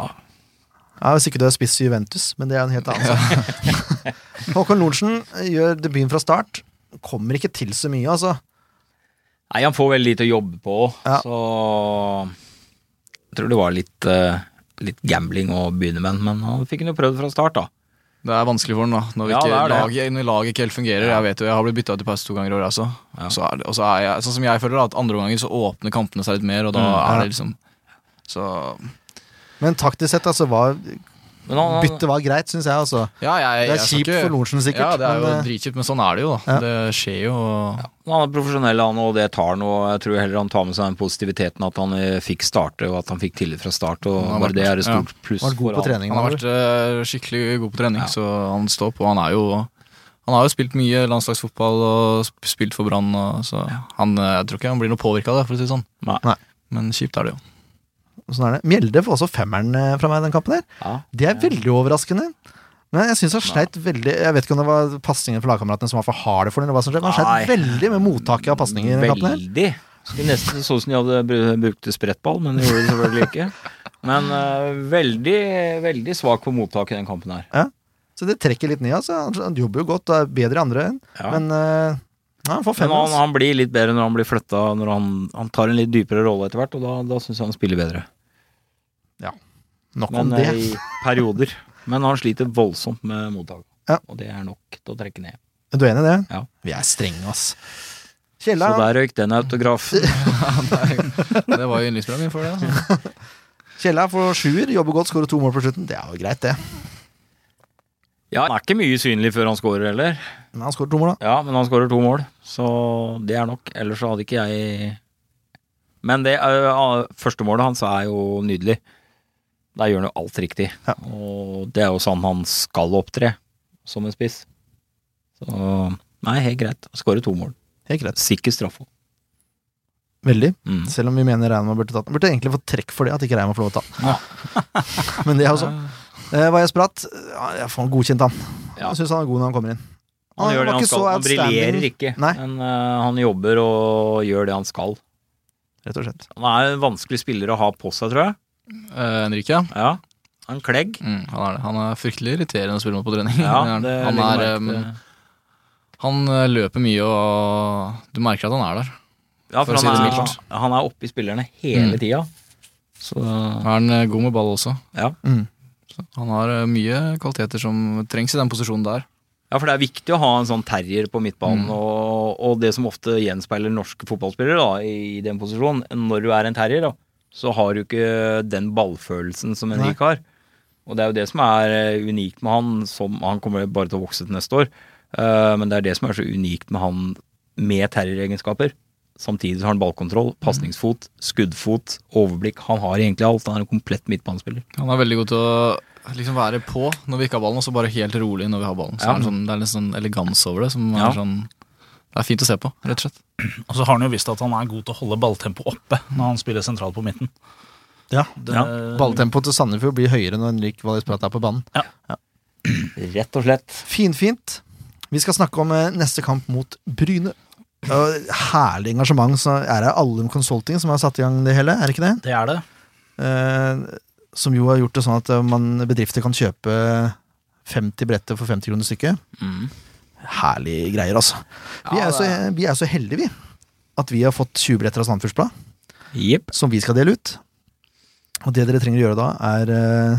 Speaker 1: Ja, hvis ikke du er spiss i Juventus, men det er en helt annen sak. [LAUGHS] Håkon Lorentzen eh, gjør debuten fra start. Kommer ikke til så mye, altså.
Speaker 3: Nei, han får veldig lite å jobbe på,
Speaker 1: Ja.
Speaker 3: så Jeg tror det var litt, eh, litt gambling å begynne med, men han fikk han jo prøvd fra start, da.
Speaker 5: det er vanskelig for han da, når, vi
Speaker 3: Ja,
Speaker 5: ikke,
Speaker 3: det er det.
Speaker 5: Laget, når laget ikke helt fungerer. Jeg vet jo, jeg har blitt bytta ut i pause to ganger i året. Altså.
Speaker 3: Ja.
Speaker 5: Så er det, og så er jeg, sånn som jeg føler da, at andre ganger så åpner kampene seg litt mer, og da
Speaker 3: Mm.
Speaker 1: ja.
Speaker 5: er det liksom Så
Speaker 1: Men taktisk sett, altså, var,
Speaker 3: Men han, han,
Speaker 1: byttet var greit, syns jeg, altså.
Speaker 5: ja, jeg,
Speaker 1: Det
Speaker 5: jeg
Speaker 1: er
Speaker 5: skal
Speaker 1: kjipt
Speaker 5: ikke-
Speaker 1: for Lorentzen, sikkert.
Speaker 5: Ja, det er jo
Speaker 1: men, eh,
Speaker 5: dritkjipt, men sånn er det jo, da.
Speaker 1: Ja.
Speaker 5: Det skjer jo. og-
Speaker 3: Han er profesjonell, han, og det tar noe. Jeg tror heller han tar med seg den positiviteten at han eh, fikk starte, og at han fikk tillit fra start. Og
Speaker 5: Han har
Speaker 3: bare
Speaker 5: vært-
Speaker 3: det er et stort pluss.
Speaker 1: var god
Speaker 3: for
Speaker 1: på
Speaker 3: han.
Speaker 1: treningen.
Speaker 5: Han har
Speaker 1: var
Speaker 5: vært
Speaker 1: du?
Speaker 5: eh, skikkelig god på trening,
Speaker 3: Ja.
Speaker 5: så han står på. Han er jo han har jo spilt mye landslagsfotball og sp- spilt for Brann, og så han, eh, jeg tror ikke han blir noe påvirka av det, for å si det sånn.
Speaker 3: Nei.
Speaker 1: Nei.
Speaker 5: Men kjipt er det jo.
Speaker 1: Sånn er det. Mjelde får også femmeren eh, fra meg i den kampen der.
Speaker 3: Ja.
Speaker 1: Det er veldig overraskende. Men jeg syns han sleit veldig Jeg vet ikke om det var pasningen for lagkameratene som var for harde for den, eller hva som skjedde, men han sleit veldig med mottaket av pasninger i den kampen her.
Speaker 3: Veldig. Skulle nesten så ut som de hadde br- brukt sprettball, men det gjorde de selvfølgelig ikke. Men eh, veldig, veldig svak på mottak i den kampen her.
Speaker 1: Så det trekker litt ned, altså. Han- Han jobber jo godt og er bedre i andre enn,
Speaker 3: Ja. Men,
Speaker 1: men eh, ja, han får fem.
Speaker 3: han,
Speaker 1: Altså.
Speaker 3: han blir litt bedre når han blir flytta, når han, han tar en litt dypere rolle etter hvert, og da, da syns jeg han spiller bedre.
Speaker 1: Nok om
Speaker 3: Men eh,
Speaker 1: det.
Speaker 3: i perioder. Men han sliter voldsomt med mottaket.
Speaker 1: Ja.
Speaker 3: Og det er nok til å trekke ned.
Speaker 1: Er du enig i det?
Speaker 3: Ja.
Speaker 1: Vi er strenge, ass.
Speaker 3: Så
Speaker 1: Kjella,
Speaker 3: der røyk den autografen.
Speaker 5: Det var jo yndlingsbra min før det.
Speaker 3: [LAUGHS]
Speaker 5: Altså.
Speaker 1: Kjella får sjuer, jobber godt, skårer to mål på slutten. Det er jo greit, det.
Speaker 3: Ja, han er ikke mye synlig før han scorer heller.
Speaker 1: Men han skårer to mål, da.
Speaker 3: Ja, men han skårer to mål, så det er nok. Ellers så hadde ikke jeg Men det øh, første målet hans er jo nydelig. Der gjør han jo alt riktig.
Speaker 1: Ja.
Speaker 3: Og det er jo sånn han skal opptre som en spiss. Så nei, helt greit. Skårer to mål.
Speaker 1: Helt greit.
Speaker 3: Sikker straffe.
Speaker 1: Veldig.
Speaker 3: Mm.
Speaker 1: Selv om vi mener Reima burde tatt den. Burde egentlig fått trekk for det, at ikke Reima får lov å ta den. [LAUGHS] Men det er jo sånn. Eh, Var jeg spratt? Ja, jeg får godkjent han.
Speaker 3: Ja.
Speaker 1: Jeg syns han er god når Ah, han kommer inn.
Speaker 3: Han, gjør det
Speaker 1: var
Speaker 3: han
Speaker 1: ikke så
Speaker 3: skal. Han briljerer
Speaker 1: outstanding,
Speaker 3: ikke,
Speaker 1: Nei.
Speaker 3: men øh, han jobber og gjør det han skal.
Speaker 1: Rett og slett.
Speaker 3: Han er en vanskelig spiller å ha på seg, tror jeg.
Speaker 5: Eh, Henrik, ja.
Speaker 3: Ja. Han klegg.
Speaker 5: Mm, han, er det. han er fryktelig irriterende å spille mot på [LAUGHS] trening.
Speaker 3: Ja,
Speaker 5: han,
Speaker 3: det
Speaker 5: er, han,
Speaker 3: legger
Speaker 5: er,
Speaker 3: merke til.
Speaker 5: ehm, han eh, løper mye, og du merker at han er der.
Speaker 3: Ja,
Speaker 5: for å si
Speaker 3: for han
Speaker 5: det
Speaker 3: er,
Speaker 5: mildt.
Speaker 3: han er oppe i spillerne hele
Speaker 5: Mm.
Speaker 3: tida.
Speaker 5: Han er en, eh, god med ball også.
Speaker 1: Mm.
Speaker 5: Så han har eh, mye kvaliteter som trengs i den posisjonen der.
Speaker 3: Ja, for det er viktig å ha en sånn terrier på midtbanen,
Speaker 5: Mm.
Speaker 3: og, og det som ofte gjenspeiler norske fotballspillere da, i den posisjonen, når du er en terrier, da, så har du ikke den ballfølelsen som Henrik har. Og det er jo det som er eh, unikt med han, som han kommer bare til å vokse til neste år, eh, men det er det som er så unikt med han med terrieregenskaper. Samtidig så har han
Speaker 4: Mm.
Speaker 3: ballkontroll, pasningsfot, skuddfot, overblikk. Han har egentlig alt. Han er en komplett midtbanespiller.
Speaker 5: Han er veldig god til å liksom være på når vi ikke har ballen, og så bare helt rolig når vi har ballen. Så
Speaker 3: Ja.
Speaker 5: er det, sånn, det er litt sånn elegans over det som
Speaker 3: Ja.
Speaker 5: er sånn Det er fint å se på, rett og slett.
Speaker 4: Og så har han jo visst at han er god til å holde balltempoet oppe når han spiller sentralt på midten.
Speaker 1: Ja.
Speaker 4: Det,
Speaker 3: Ja,
Speaker 1: Balltempoet til Sandefjord blir høyere når Henrik Valis Prat er på banen.
Speaker 3: Rett og slett.
Speaker 1: Finfint. Vi skal snakke om eh, neste kamp mot Bryne. Og herlig engasjement. Så er det Allum Consulting som har satt i gang det hele, er det ikke det?
Speaker 4: det er det.
Speaker 1: Eh, som jo har gjort det sånn at eh, man, bedrifter kan kjøpe 50 bretter for 50 kroner stykket.
Speaker 3: Mm.
Speaker 1: Herlige greier, altså. Vi
Speaker 5: Ja,
Speaker 1: er, så, vi er så heldige, vi. At vi har fått 20 bretter av Sandefjords Blad,
Speaker 3: Jepp.
Speaker 1: som vi skal dele ut. Og det dere trenger å gjøre da, er eh,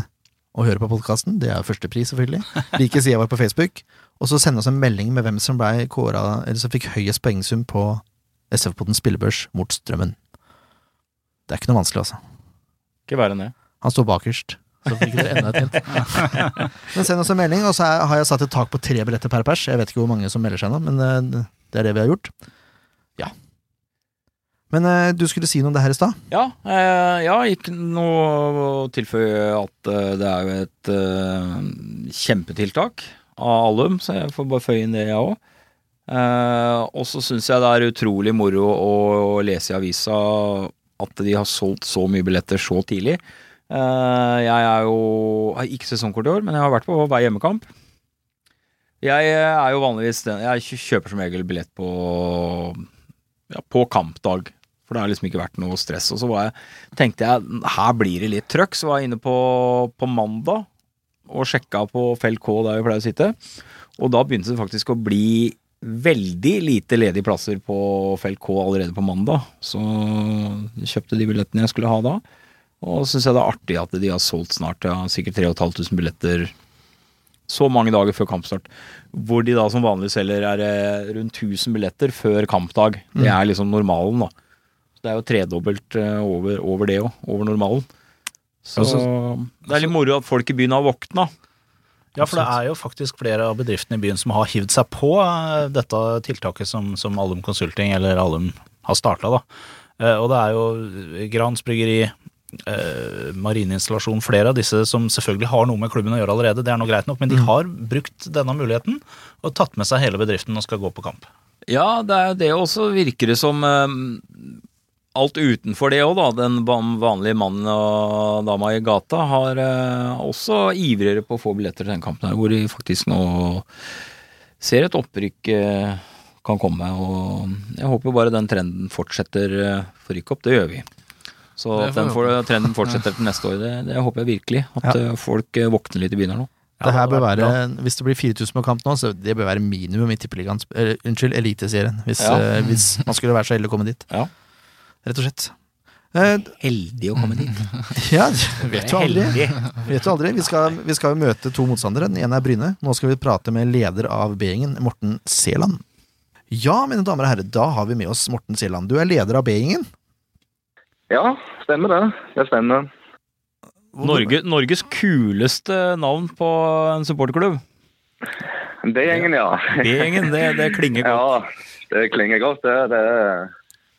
Speaker 1: å høre på podkasten. Det er førstepris, selvfølgelig. Like sida vår på Facebook. Og så sende oss en melding med hvem som ble kåra, eller som fikk høyest poengsum på SF-podden spillebørs mot Strømmen. Det er ikke noe vanskelig, altså.
Speaker 3: Ikke verre enn det.
Speaker 1: Han står bakerst. Så fikk dere enda et hint. Men send oss en melding, og så er- har jeg satt et tak på tre billetter per pers. Jeg vet ikke hvor mange som melder seg nå, men eh, det er det vi har gjort. Ja. Men eh, du skulle si noe om det her i stad?
Speaker 3: Ja, eh, ja, ikke noe å tilføye at eh, det er jo et eh, kjempetiltak av Allum, så jeg får bare føye inn det, jeg òg. Eh, og så syns jeg det er utrolig moro å, å lese i avisa at de har solgt så mye billetter så tidlig. Eh, jeg er jo har ikke sesongkort i år, men jeg har vært på hver hjemmekamp. Jeg eh, er jo vanligvis den Jeg kjøper som regel billett på, ja, på kampdag. For det har liksom ikke vært noe stress. Og så var jeg, tenkte jeg her blir det litt trøkk, så var jeg inne på, på mandag og sjekka på Fell K der vi pleier å sitte. Og da begynte det faktisk å bli veldig lite ledige plasser på Fell K allerede på mandag. Så jeg kjøpte de billettene jeg skulle ha da. Og syns jeg det er artig at de har solgt snart ja, sikkert 3500 billetter så mange dager før kampstart. Hvor de da som vanlig selger er eh, rundt 1000 billetter før kampdag. Det er liksom normalen, da. Så det er jo tredobbelt eh, over, over det òg. Over normalen. Så det er litt moro at folk i byen har våkna.
Speaker 4: Ja, for det er jo faktisk flere av bedriftene i byen som har hivd seg på eh, dette tiltaket som, som Allum Consulting eller Allum har starta, da. Eh, Og det er jo Grans bryggeri, eh, marineinstallasjon, flere av disse som selvfølgelig har noe med klubben å gjøre allerede, det er nå greit nok, men de har brukt denne muligheten og tatt med seg hele bedriften og skal gå på kamp.
Speaker 3: Ja, det er jo det også, virker det som. eh, alt utenfor det òg, da. Den van- vanlige mannen og dama i gata har eh, også ivrigere på å få billetter til den kampen her, hvor de faktisk nå ser et opprykk eh, kan komme. Og jeg håper bare den trenden fortsetter eh, for rykke opp. Det gjør vi. Så
Speaker 5: Det
Speaker 3: at
Speaker 5: får
Speaker 3: den
Speaker 5: vi
Speaker 3: for, trenden fortsetter til neste år, det, det håper jeg virkelig. At
Speaker 1: Ja.
Speaker 3: eh, folk eh, våkner litt i byen her nå.
Speaker 1: Det her bør
Speaker 4: hadde vært
Speaker 1: være, hvis det blir 4000 på kamp nå, så det bør være minimum i tippeligaen eller, Unnskyld, Eliteserien. Hvis,
Speaker 3: Ja.
Speaker 1: eh, hvis man skulle være så heldig å komme dit.
Speaker 3: Ja.
Speaker 1: Rett og slett. Eh,
Speaker 3: Heldig å komme dit.
Speaker 1: ja, vet jo aldri. Vet jo aldri. Vi skal, vi skal jo møte to motstandere. Den ene er Bryne. Nå skal vi prate med leder av B-gjengen, Morten Seland. Ja, mine damer og herrer, da har vi med oss Morten Seland. Du er leder av B-gjengen.
Speaker 6: Ja, stemmer det. Det stemmer.
Speaker 1: Hvor-
Speaker 3: Norge, Norges kuleste navn på en supporterklubb.
Speaker 6: Det gjengen, ja.
Speaker 3: B-gjengen, det, det klinger godt.
Speaker 6: [LAUGHS] Ja, det klinger godt. Det, det,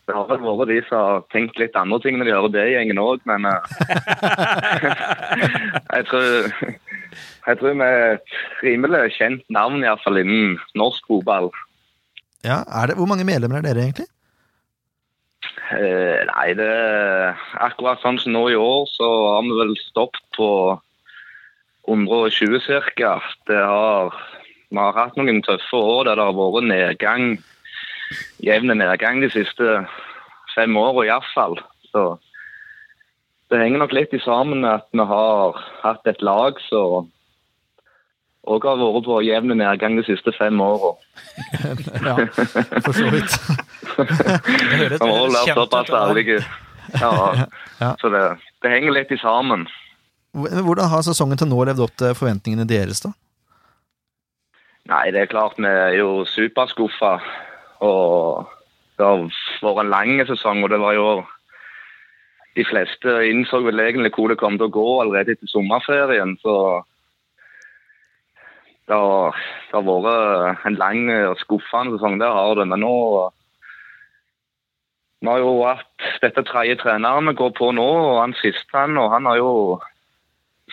Speaker 6: det har vel vært de som har tenkt litt andre ting når de hører det gjengen òg, men eh, [LAUGHS] jeg tror jeg tror vi er et rimelig kjent navn, iallfall innen norsk fotball.
Speaker 1: Ja, er det, hvor mange medlemmer er dere egentlig?
Speaker 6: Eh, nei, det akkurat sånn som nå i år, så har vi vel stoppet på 120 ca. Det har Vi har hatt noen tøffe år der det har vært nedgang, jevne nedgang de siste fem åra iallfall. Så det henger nok litt i sammen med at vi har hatt et lag som òg har vært på jevne nedgang de siste fem åra.
Speaker 1: [LAUGHS] Ja, for så vidt.
Speaker 4: Det høres,
Speaker 6: Vi har også
Speaker 4: høres
Speaker 6: vært
Speaker 4: kjent
Speaker 6: såpass
Speaker 4: ut. det der.
Speaker 6: ærlige. Ja.
Speaker 1: Ja.
Speaker 6: Så det, det henger litt i sammen.
Speaker 1: Hvordan har sesongen til nå levd opp til forventningene deres, da? [LAUGHS]
Speaker 6: Nei, det er klart vi er jo superskuffa. Og det har vært en lang sesong, og det var jo De fleste innså vel egentlig hvor det kom til å gå allerede etter sommerferien, så det har, det har vært en lang og skuffende sesong, det har det. Men nå Vi har jo hatt dette tredje treneren vi går på nå, og han siste, han, og han har jo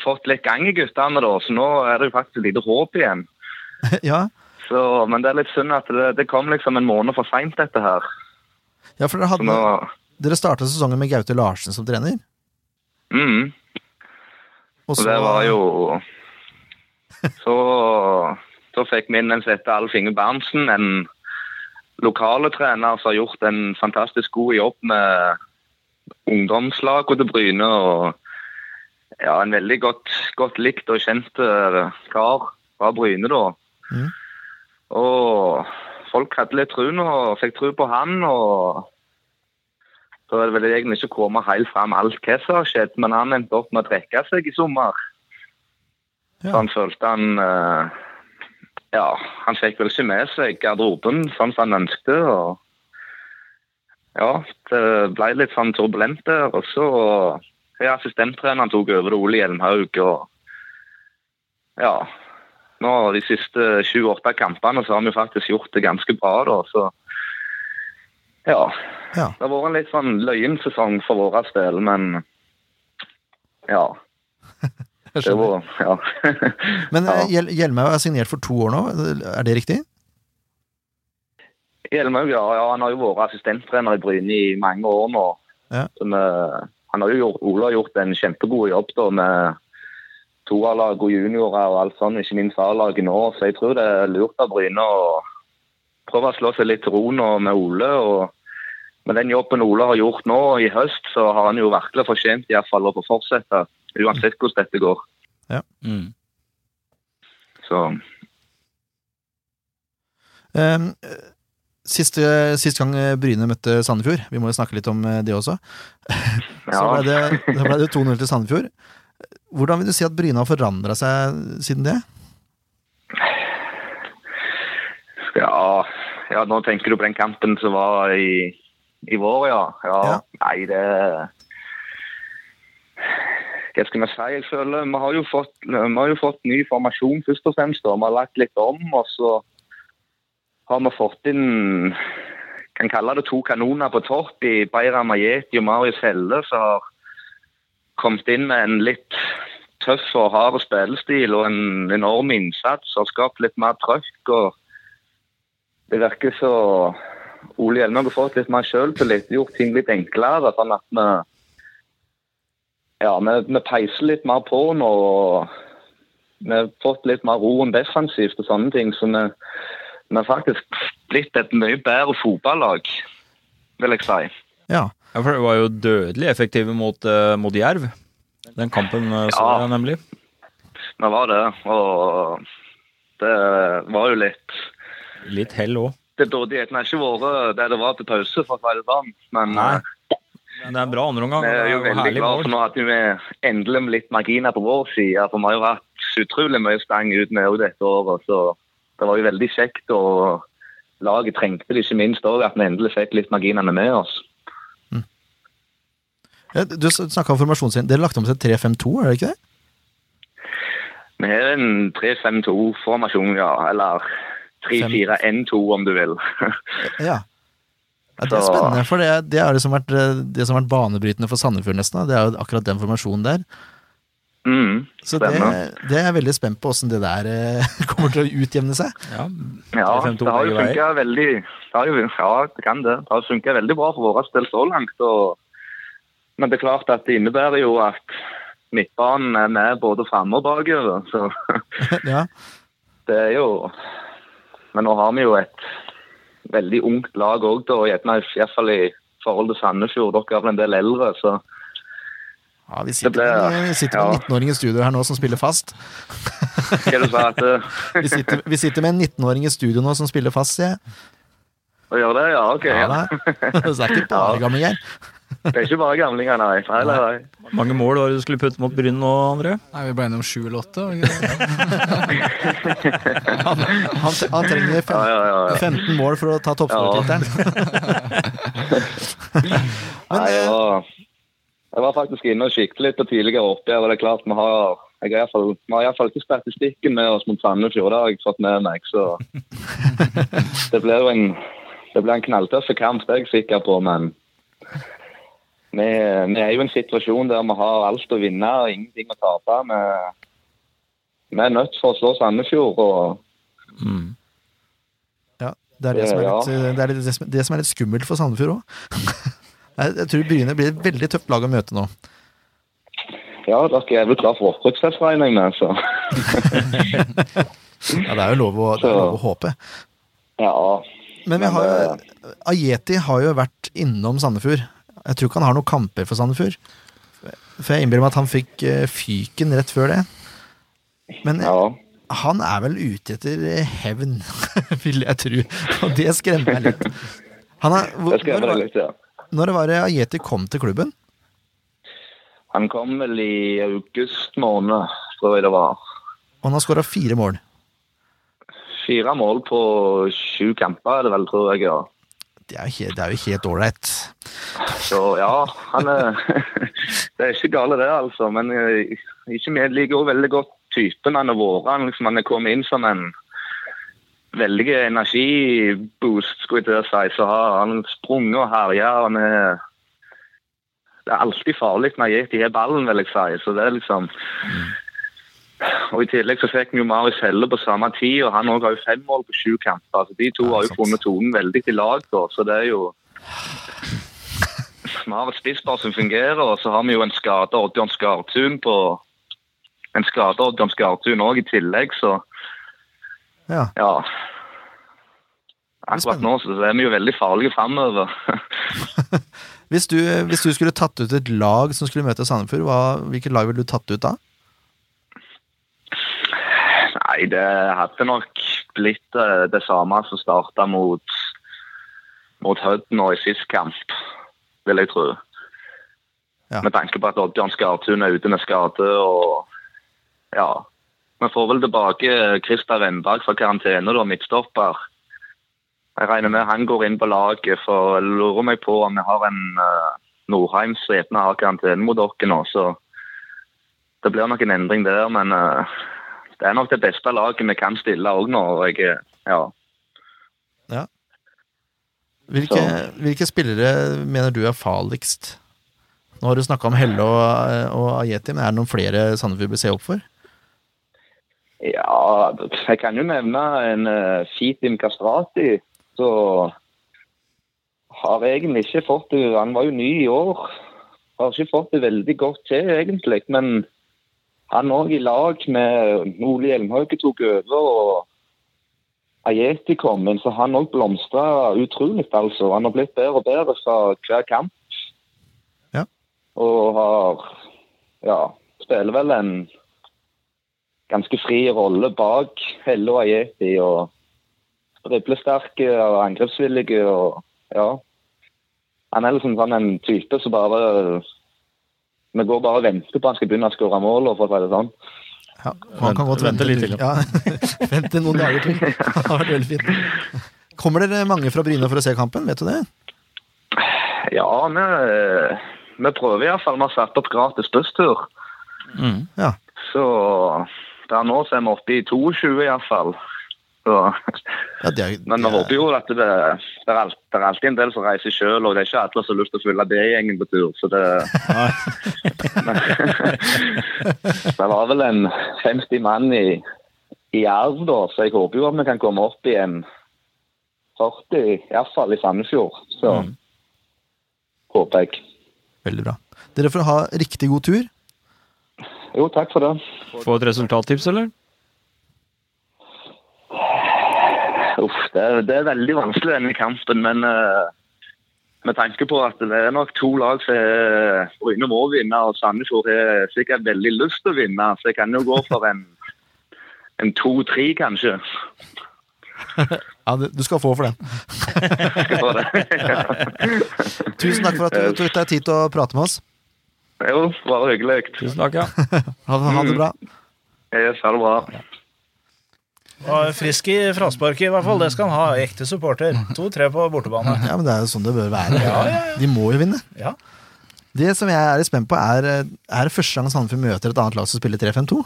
Speaker 6: fått litt gang i guttene, da, så nå er det jo faktisk lite håp igjen.
Speaker 1: Ja,
Speaker 6: Så, men det er litt synd at det, det kom liksom en måned for seint, dette her.
Speaker 1: ja for dere,
Speaker 6: Så nå,
Speaker 1: hadde, dere starta sesongen med Gaute Larsen som trener.
Speaker 6: mm,
Speaker 1: Og
Speaker 6: og det var jo Så, så fikk vi inn en sette Alf Inge Berntsen, en lokale trener som har gjort en fantastisk god jobb med ungdomslaget til Bryne. og ja, En veldig godt, godt likt og kjent eh, kar fra Bryne, da.
Speaker 1: Mhm.
Speaker 6: Og folk hadde litt tru nå, og fikk tru på han. og Da er det vel egentlig ikke kommet helt fram alt hva som har skjedd, men han endte opp med å trekke seg i sommer.
Speaker 1: Ja.
Speaker 6: Så han følte han eh, Ja, han fikk vel ikke med seg garderoben sånn som han ønsket. og ja, det ble litt sånn turbulent der. Og så ja, assistenttreneren tok over det, Ole Hjelmhaug. Og ja, nå de siste 28 kampene så har vi faktisk gjort det ganske bra, da. Så ja.
Speaker 1: Ja.
Speaker 6: Det har vært en litt sånn løyen sesong for vår del, men ja.
Speaker 5: [LAUGHS] Jeg
Speaker 6: Det
Speaker 5: skjønner.
Speaker 6: var, ja. [LAUGHS]
Speaker 1: Men
Speaker 6: Ja.
Speaker 1: eh, Hjel Hjelmhaug er signert for to år nå, er det riktig?
Speaker 6: Hjelmhaug, ja, ja. Han har jo vært assistenttrener i Bryne i mange år nå.
Speaker 1: Ja.
Speaker 6: Så vi- han har jo gjort, Ole har gjort en kjempegod jobb da med toerlag og juniorer og alt sånt, ikke minst A-laget nå. Så jeg tror det er lurt av Bryne å prøve å slå seg litt til ro nå med Ole. og med den jobben Ole har gjort nå i høst, så har han jo virkelig fortjent i hvert fall å få fortsette. Uansett hvordan dette går.
Speaker 3: Mm.
Speaker 6: Så
Speaker 1: Ehm, eh, Siste, sist gang eh, Bryne møtte Sandefjord, vi må jo snakke litt om eh, det også, så
Speaker 6: ja.
Speaker 1: ble det, da ble det 2-0 til Sandefjord. Hvordan vil du si at Bryne har forandra seg siden det?
Speaker 6: Ja, ja, nå tenker du på den kampen som var i, i vår, ja. ja.
Speaker 1: Ja.
Speaker 6: Nei, det Hva skal vi si? Jeg føler vi har jo fått, vi har jo fått ny formasjon, først og fremst. da. Vi har lagt litt om, og så har vi fått inn kan kalle det to kanoner på topp i Beira Majeti og Marius Helle, som har kommet inn med en litt tøff og hard spillestil og en enorm innsats. Har skapt litt mer trøkk. og det virker så Ole Hjelmhaug har fått litt mer sjøltillit, gjort ting litt enklere. Sånn at vi ja, vi, vi peiser litt mer på nå. og Vi har fått litt mer roen defensivt og sånne ting. Så vi, vi har faktisk blitt et mye bedre fotballag, vil jeg si.
Speaker 1: Ja,
Speaker 3: Ja, for det var jo dødelig effektive mot, eh, mot Jerv. Den kampen eh, så
Speaker 6: Ja.
Speaker 3: jeg nemlig.
Speaker 6: Vi var det. Og det var jo litt
Speaker 3: Litt hell òg.
Speaker 6: Det burde gjerne ikke vært det det var til pause, for å si det sånn. Men
Speaker 3: Nei. Men det er en bra andreomgang.
Speaker 6: Vi
Speaker 3: og Det
Speaker 6: er jo
Speaker 3: er jo
Speaker 6: veldig
Speaker 3: herlig
Speaker 6: glad for
Speaker 3: mål.
Speaker 6: nå hadde vi endelig litt marginer på vår side. For vi har jo hatt så utrolig mye stang ut med også dette året. Så det var jo veldig kjekt. Og laget trengte det ikke minst òg, at vi endelig fikk litt marginene med oss.
Speaker 1: Ja, Eh, Du snakka om formasjonen sin. Dere lagt om til 3-5-2, er det ikke det?
Speaker 6: Vi har en 3-5-2-formasjon, ja. Eller 3-4-1-2, om du vil. [LAUGHS]
Speaker 1: Eh, Ja. ja det er
Speaker 6: Så-
Speaker 1: spennende, for det, det er det som har vært, eh, det som har vært banebrytende for Sandefjord, nesten. da. Det er jo akkurat den formasjonen der.
Speaker 6: Mm,
Speaker 1: Så det,
Speaker 6: Spennende.
Speaker 1: det er jeg veldig spent på åssen det der eh, [LAUGHS] kommer til å utjevne seg.
Speaker 3: Ja,
Speaker 6: ja,
Speaker 3: 3-5-2
Speaker 6: det har jo
Speaker 3: begge
Speaker 6: funka veldig det har jo, Ja, det kan det. Det har funka veldig bra for vår del så langt. Og, men det er klart at det innebærer jo at midtbanen er med både framme og bakover. Så [LAUGHS]
Speaker 1: ja.
Speaker 6: det er jo Men nå har vi jo et veldig ungt lag òg, da. Gjerne i hvert fall i forhold til Sandefjord. Dere er vel en del eldre, så
Speaker 1: ja, vi sitter,
Speaker 6: Det ble-
Speaker 1: med- vi sitter med
Speaker 6: ja.
Speaker 1: en 19-åring i studio her nå som spiller fast.
Speaker 6: skal du si at [LAUGHS] eh,
Speaker 1: Vi sitter, vi sitter med en 19-åring i studio nå som spiller fast, sier jeg.
Speaker 6: Å gjøre det, ja. OK.
Speaker 1: Ja, da. [LAUGHS] Så det er ikke bare gamling her.
Speaker 6: Det er ikke bare gamlinger, nei. Nei, nei, nei.
Speaker 3: Mange mål var det du skulle putte mot Bryn nå, André?
Speaker 5: Nei, Vi ble enige om sju eller åtte. var det ikke det?
Speaker 3: [LAUGHS]
Speaker 1: Han, han trenger fem,
Speaker 6: Ja, ja, ja, ja.
Speaker 1: 15 mål for å ta toppskårertittelen. [LAUGHS]
Speaker 6: Nei,
Speaker 1: eh,
Speaker 6: jeg var, jeg var faktisk inne og kikket litt på tidligere oppgjør. og Det er klart vi har jeg har i hvert fall- vi har iallfall ikke statistikken med oss mot Sandefjord, det har jeg fått med meg. Så det blir jo en, det blir en knalltøff kamp, det er jeg sikker på. Men vi, vi er jo i en situasjon der vi har alt å vinne og ingenting å tape. Vi, vi er nødt for å slå Sandefjord. og
Speaker 3: Mm.
Speaker 1: Ja, det er det som er
Speaker 6: Ja.
Speaker 1: litt, eh, det er litt, det som- det som er litt skummelt for Sandefjord òg. [LAUGHS] Jeg jeg tror Bryne blir et veldig tøft lag å møte nå.
Speaker 6: Ja, dere er vel klar for opprykksrett, regner jeg med. så... [LAUGHS]
Speaker 1: Ja, Det er jo lov å, det er lov å håpe.
Speaker 6: Ja.
Speaker 1: Men vi har jo,
Speaker 6: eh,
Speaker 1: Ajeti har jo vært innom Sandefjord. Jeg tror ikke han har noen kamper for Sandefjord. For jeg innbiller meg at han fikk eh, fyken rett før det. Men eh,
Speaker 6: Ja.
Speaker 1: han er vel ute etter eh, hevn, [LAUGHS] vil jeg tro. Og det skremmer meg litt. Han er, hvor,
Speaker 6: Det skal jeg
Speaker 1: når,
Speaker 6: bare
Speaker 1: var-
Speaker 6: litt, ja.
Speaker 1: når var det Ajeti kom til klubben?
Speaker 6: Han kom vel i august måned, tror jeg det var.
Speaker 1: Og han har skåra fire mål.
Speaker 6: Fire mål på sju kamper, er det vel, tror jeg. ja.
Speaker 1: Det er jo helt- det er jo helt ålreit.
Speaker 6: Så ja, han er [LAUGHS] Det er ikke gale, det, altså. Men eh, ikke vi liker også veldig godt typen han har vært. Han, liksom, han er kommet inn som en veldig energiboost, skulle jeg til å si. Så har han sprunget og herja. og Han er Det er alltid farlig når Yeti har ballen, vil jeg si. Så det er liksom og I tillegg så fikk vi jo Marius Helle på samme tid, og han også har jo fem mål på sju kamper. Så de to har jo
Speaker 1: sant.
Speaker 6: funnet tonen veldig i lag, da. Så det er jo vi har et spisspar som fungerer, og så har vi jo en skada Oddbjørn Skartun på En skada Oddbjørn Skartun òg i tillegg, så
Speaker 1: Ja.
Speaker 6: ja. Akkurat nå så er vi jo veldig farlige framover.
Speaker 1: Hvis du, eh, hvis du skulle tatt ut et lag som skulle møte Sandefjord, hva, hvilket lag ville du tatt ut da?
Speaker 6: Nei, det hadde nok blitt eh, det samme som starta mot, mot Hødd nå i sist kamp, vil jeg tro.
Speaker 1: Ja.
Speaker 6: Med tanke på at Oddbjørn Skartun er ute med skade og ja. Vi får vel tilbake Christer Wennberg fra karantene, da, midtstopper. Jeg regner med han går inn på laget, for jeg lurer meg på om vi har en eh, Nordheim som gjerne har karantene mot dere nå, så det blir nok en endring der, men eh, det er nok det beste laget vi kan stille òg nå. og Jeg, eh, ja.
Speaker 1: Hvilke, hvilke spillere mener du er farligst? Nå har du snakka om Helle og, og Ajeti, men er det noen flere Sandefjord bør se opp for?
Speaker 6: ja, jeg kan jo nevne en uh, Fitim Kastrati. Så har egentlig ikke fått det Han var jo ny i år. Har ikke fått det veldig godt til, egentlig. Men han òg i lag med Ole Hjelmhauge tok over. og Ajeti kom inn, så han òg blomstra utrolig, altså. Han har blitt bedre og bedre fra hver kamp.
Speaker 1: Ja.
Speaker 6: Og har Ja, spiller vel en ganske fri rolle bak Helle og Ajeti. Og driblesterke og angrepsvillige og ja. Han er liksom sånn en type som bare Vi går bare og venter på han skal begynne å skåre mål, og for å si det sånn.
Speaker 1: Ja, man kan godt vente,
Speaker 7: Vente litt til,
Speaker 1: Ja. [LAUGHS] vente noen dager til. Det har vært veldig fint. Kommer dere mange fra Bryne for å se kampen, vet du det?
Speaker 6: Ja, vi, eh, vi prøver iallfall. Vi har satt opp gratis busstur.
Speaker 1: Ja.
Speaker 6: Så per nå så er vi oppe i 22 iallfall. Så
Speaker 1: Ja, det er,
Speaker 6: Men vi
Speaker 1: det er-
Speaker 6: håper jo at det, det, er alt, det er alltid en del som reiser sjøl, og det er ikke alle som har lyst til å følge B-gjengen på tur. Så det [LAUGHS] Det var vel en 50 mann i, i Jerv, da, så jeg håper jo at vi kan komme opp i en 40, iallfall i Sandefjord. Så håper jeg.
Speaker 1: Veldig bra. Dere får ha riktig god tur.
Speaker 6: Jo, takk for det.
Speaker 3: Få et resultattips, eller?
Speaker 6: Uff, det, er- det er veldig vanskelig denne kampen, men eh, med tanke på at det er nok to lag som er- Bryne må vinne, og Sandefjord har sikkert veldig lyst til å vinne, så jeg kan jo gå for en, en 2-3, kanskje.
Speaker 1: Ja, det- du skal få for den.
Speaker 6: Skal få det. [LAUGHS]
Speaker 1: Tusen takk for at du tok deg tid til å prate med oss.
Speaker 6: jo, bare hyggelig.
Speaker 3: Tusen takk, ja.
Speaker 5: [LAUGHS]
Speaker 1: Ha, ha det bra.
Speaker 6: Yes, ha det bra.
Speaker 7: Og frisk i frasparket, i hvert fall. Det skal han ha. Ekte supporter. To-tre på bortebane.
Speaker 1: Ja, men Det er jo sånn det bør være. De må jo vinne.
Speaker 7: Ja.
Speaker 1: Det som jeg er litt spent på, er Er det første gang Sandefjord møter et annet lag som spiller 3-5-2.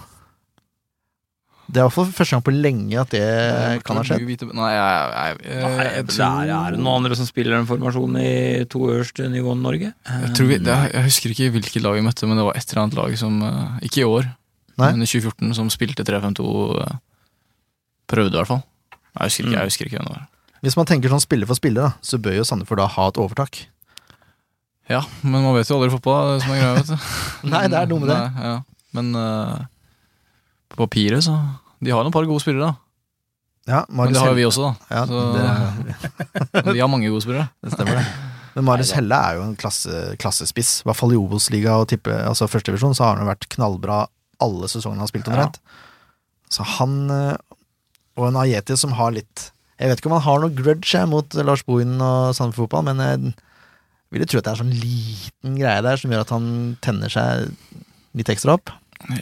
Speaker 1: Det er i hvert fall første gang på lenge at
Speaker 3: Eh,
Speaker 1: det kan ha
Speaker 5: Du
Speaker 1: skjedd.
Speaker 5: vite- Nei, Eh, jeg, jeg, jeg,
Speaker 3: Nei,
Speaker 5: jeg,
Speaker 3: det
Speaker 5: tror-
Speaker 3: er, er det noen andre som spiller den formasjonen i to øverste nivå i Norge? Eh,
Speaker 5: Jeg, tror vi, det, jeg husker ikke hvilket lag vi møtte, men det var et eller annet lag som eh, Ikke i år,
Speaker 1: Nei.
Speaker 5: men i 2014, som spilte 3-5-2. eh, Prøvde, i hvert fall. Jeg husker ikke, jeg husker ikke hvem det var.
Speaker 1: Hvis man tenker sånn spiller for spiller, da, så bør jo Sandefjord da ha et overtak.
Speaker 5: Ja, men man vet jo aldri i fotball, det er som er greia, vet du.
Speaker 1: Nei, det er noe med det.
Speaker 5: Nei, ja. Men eh, på papiret, så De har jo et par gode spillere, da.
Speaker 1: Ja,
Speaker 5: Men
Speaker 1: Marius
Speaker 5: det har jo
Speaker 1: Helle,
Speaker 5: vi også, da.
Speaker 1: ja,
Speaker 5: så-
Speaker 1: det,
Speaker 5: Men De har mange gode spillere.
Speaker 1: det stemmer, det. Men Marius Helle er jo en klasse, klassespiss. I hvert fall i Obos-liga og tippe, altså førstedivisjon så har han jo vært knallbra alle sesongene han har spilt omtrent. Så han eh, og en Ajeti som har litt Jeg vet ikke om han har noe grudge jeg, mot Lars Bohinen og Sandefjord Fotball, men jeg ville tro at det er sånn liten greie der som gjør at han tenner seg litt ekstra opp.
Speaker 5: [LAUGHS]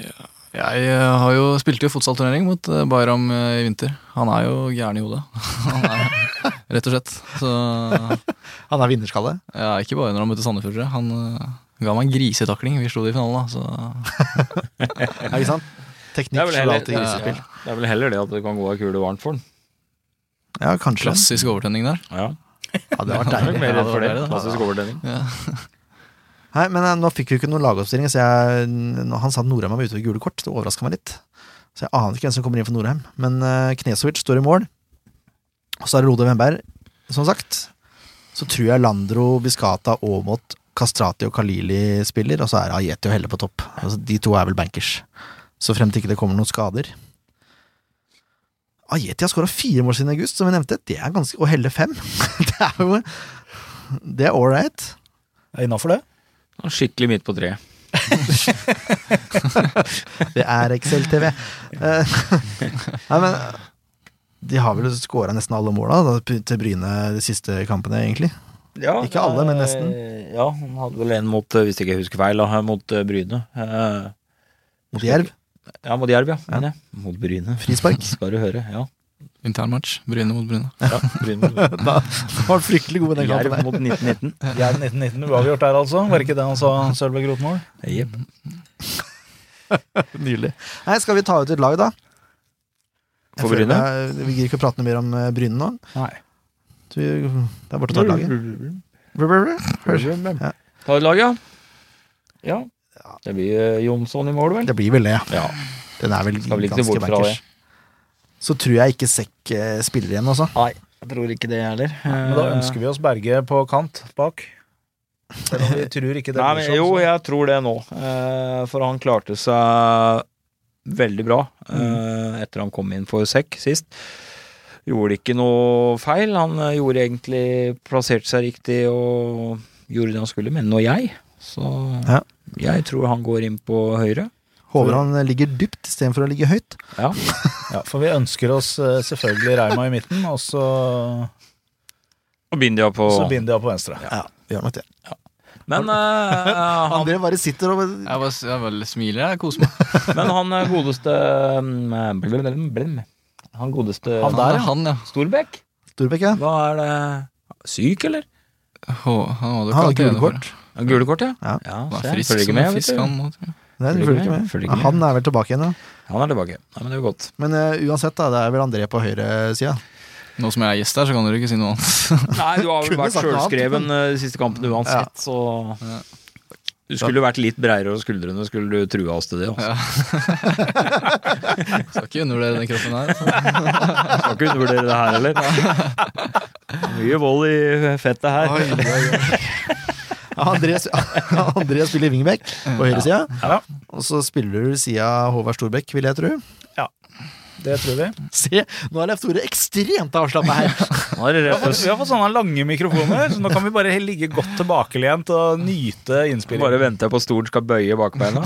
Speaker 5: Jeg eh, har jo spilt jo fotballturnering mot eh, Bayram eh, i vinter. Han er jo gæren i hodet. [LAUGHS] Han er, rett og slett. Så eh,
Speaker 1: Han er vinnerskalle.
Speaker 5: ja, ikke bare når han møtte Sandefjord. tror jeg. Han eh, ga meg en grisetakling. Vi slo det i finalen, da. Så
Speaker 1: Ja, ikke sant?
Speaker 3: Det er
Speaker 1: Teknikk
Speaker 3: vel
Speaker 1: slår
Speaker 3: heller,
Speaker 1: alltid grisespill.
Speaker 3: det er vel heller det at det kan gå ei kule varmt for den.
Speaker 1: Ja, kanskje.
Speaker 5: klassisk overtenning der.
Speaker 3: Ja,
Speaker 1: Ja, det har vært
Speaker 3: jeg er
Speaker 1: deilig.
Speaker 3: nok mer redd
Speaker 5: Ja,
Speaker 3: for
Speaker 5: det
Speaker 3: det.
Speaker 5: var det, da.
Speaker 3: Klassisk overtenning.
Speaker 1: Nei, men eh, nå fikk vi ikke noen lagoppstilling, så jeg, når han sa at Norheim var ute med gule kort. Det overraska meg litt. Så jeg aner ikke hvem som kommer inn for Norheim. Men eh, Knesovic står i mål. Og så er det Lode Wemberg, som sagt. Så tror jeg Landro, Biscata, Aamodt, Kastrati og Kalili spiller, og så er det Ajeti og Helle på topp. Altså, de to er vel bankers. Så frem til ikke det kommer noen skader. Ajeti har skåra fire mål siden august, som vi nevnte. Det er ganske, Og Helle fem. [LAUGHS] det er jo Det er all right.
Speaker 7: Er innafor det?
Speaker 3: Han er Skikkelig midt på treet.
Speaker 1: Det er Excel-TV. Eh, [LAUGHS] Nei, men de har vel skåra nesten alle måla da, til Bryne de siste kampene, egentlig.
Speaker 3: Ja,
Speaker 1: Ikke alle, men
Speaker 3: eh,
Speaker 1: nesten.
Speaker 3: Ja, han hadde vel en mot, eh, hvis jeg ikke husker feil, da, mot eh, Bryne. Eh,
Speaker 1: Mot Jerv.
Speaker 3: Ja, mot Jerv, ja. mener jeg. Mot Bryne.
Speaker 1: Frispark.
Speaker 3: Skal du høre, ja.
Speaker 5: Internmatch. Bryne mot Bryne.
Speaker 3: ja Bryne mot Bryne.
Speaker 1: [LAUGHS] Da var han fryktelig god i den kampen
Speaker 3: Jerv
Speaker 1: der.
Speaker 3: mot 1919.
Speaker 7: Jerv 1919 uavgjort der, altså. Var det ikke det han sa, Sølve Grotmol?
Speaker 3: Jepp.
Speaker 1: Nydelig. Nei, skal vi ta ut et lag, da? Jeg
Speaker 3: For
Speaker 1: føler
Speaker 3: Bryne?
Speaker 1: jeg- Vi gidder ikke å prate noe mer om eh, Bryne nå.
Speaker 7: Nei.
Speaker 1: Så vi- Det er bare å ta ut laget.
Speaker 3: Ta et lag, ja. Ja. Det blir eh, Jonsson i mål, vel?
Speaker 1: Det blir vel det.
Speaker 3: Ja.
Speaker 1: Den er vel
Speaker 3: Skal vel ikke se
Speaker 1: ganske
Speaker 3: bort fra det.
Speaker 1: bankers. Så tror jeg ikke Sekk eh, spiller igjen, altså.
Speaker 3: Nei, jeg tror ikke det heller. Eh,
Speaker 7: Men da ønsker vi oss Berge på kant bak. Selv om
Speaker 3: [LAUGHS]
Speaker 7: vi tror ikke det
Speaker 3: Nei,
Speaker 7: blir
Speaker 3: men,
Speaker 7: sånn.
Speaker 3: jo,
Speaker 7: så-
Speaker 3: jeg tror det nå. Eh, for han klarte seg veldig bra eh, etter han kom inn for sekk sist. Gjorde ikke noe feil. Han eh, gjorde egentlig plasserte seg riktig og gjorde det han skulle, men nå jeg. Så
Speaker 1: Ja.
Speaker 3: jeg tror han går inn på høyre.
Speaker 1: Håper han ligger dypt istedenfor å ligge høyt.
Speaker 3: Ja.
Speaker 7: Ja, for vi ønsker oss eh, selvfølgelig Reima i midten, og så,
Speaker 3: Og Bindia på
Speaker 7: så Bindia på venstre.
Speaker 1: Ja. Gjør nok det.
Speaker 3: Men, eh, han,
Speaker 1: André bare sitter og
Speaker 5: Jeg bare, jeg bare smiler, jeg koser meg.
Speaker 3: men han eh, godeste mm, blum, blum, blum. Han godeste
Speaker 5: Han der, han, ja.
Speaker 3: Storbekk?
Speaker 1: Storbekk, ja.
Speaker 3: Hva er det? Syk, eller?
Speaker 5: Hå, han hadde
Speaker 1: Han har
Speaker 5: karantene
Speaker 1: Ah, gule kort.
Speaker 5: før.
Speaker 3: Ja, Gule kort, ja.
Speaker 1: Ja.
Speaker 5: Han
Speaker 3: se,
Speaker 5: er frisk
Speaker 3: følger ikke
Speaker 5: som
Speaker 3: med,
Speaker 5: en
Speaker 3: vet
Speaker 5: fisk,
Speaker 3: du.
Speaker 5: han. nå, tror jeg.
Speaker 1: Nei,
Speaker 3: Følger
Speaker 1: det følger ikke
Speaker 3: ikke med,
Speaker 1: med. Ah,
Speaker 3: følger ikke med.
Speaker 1: Han er vel tilbake igjen, ja.
Speaker 3: Han er tilbake. Nei, men det går
Speaker 7: [LAUGHS]
Speaker 3: godt.
Speaker 1: Men eh, uansett, da, det er vel André på [LAUGHS] høyresida.
Speaker 5: Nå som jeg er gjest her, så kan dere ikke si noe annet. [LAUGHS]
Speaker 3: Nei, du har vel
Speaker 1: Kunne
Speaker 3: vært
Speaker 1: sagt noe annet,
Speaker 3: sjølskreven eh, de siste kampene uansett, så Du skulle vært litt breiere over skuldrene, skulle du trua oss til det. Altså.
Speaker 5: Ja. Skal ikke undervurdere den kroppen her. altså.
Speaker 3: Skal ikke undervurdere det her
Speaker 7: [LAUGHS]
Speaker 3: heller. Mye vold i fettet her.
Speaker 5: Oi, oi, oi.
Speaker 1: André, [LAUGHS] André spiller wingback på høyresida.
Speaker 7: Ja.
Speaker 1: Og så spiller du ved sida av Håvard Storbekk, vil jeg tro.
Speaker 7: Det tror vi.
Speaker 1: Se, nå er Leif Tore ekstremt avslappa her!
Speaker 3: [LAUGHS] Nå er det
Speaker 7: Vi har
Speaker 3: rett og
Speaker 7: fått, vi
Speaker 3: slett
Speaker 7: har fått sånne lange mikrofoner, så nå kan vi bare he- ligge godt tilbakelent og nyte
Speaker 3: bare
Speaker 7: innspillingen.
Speaker 3: venter jeg på stolen skal bøye bakbeina.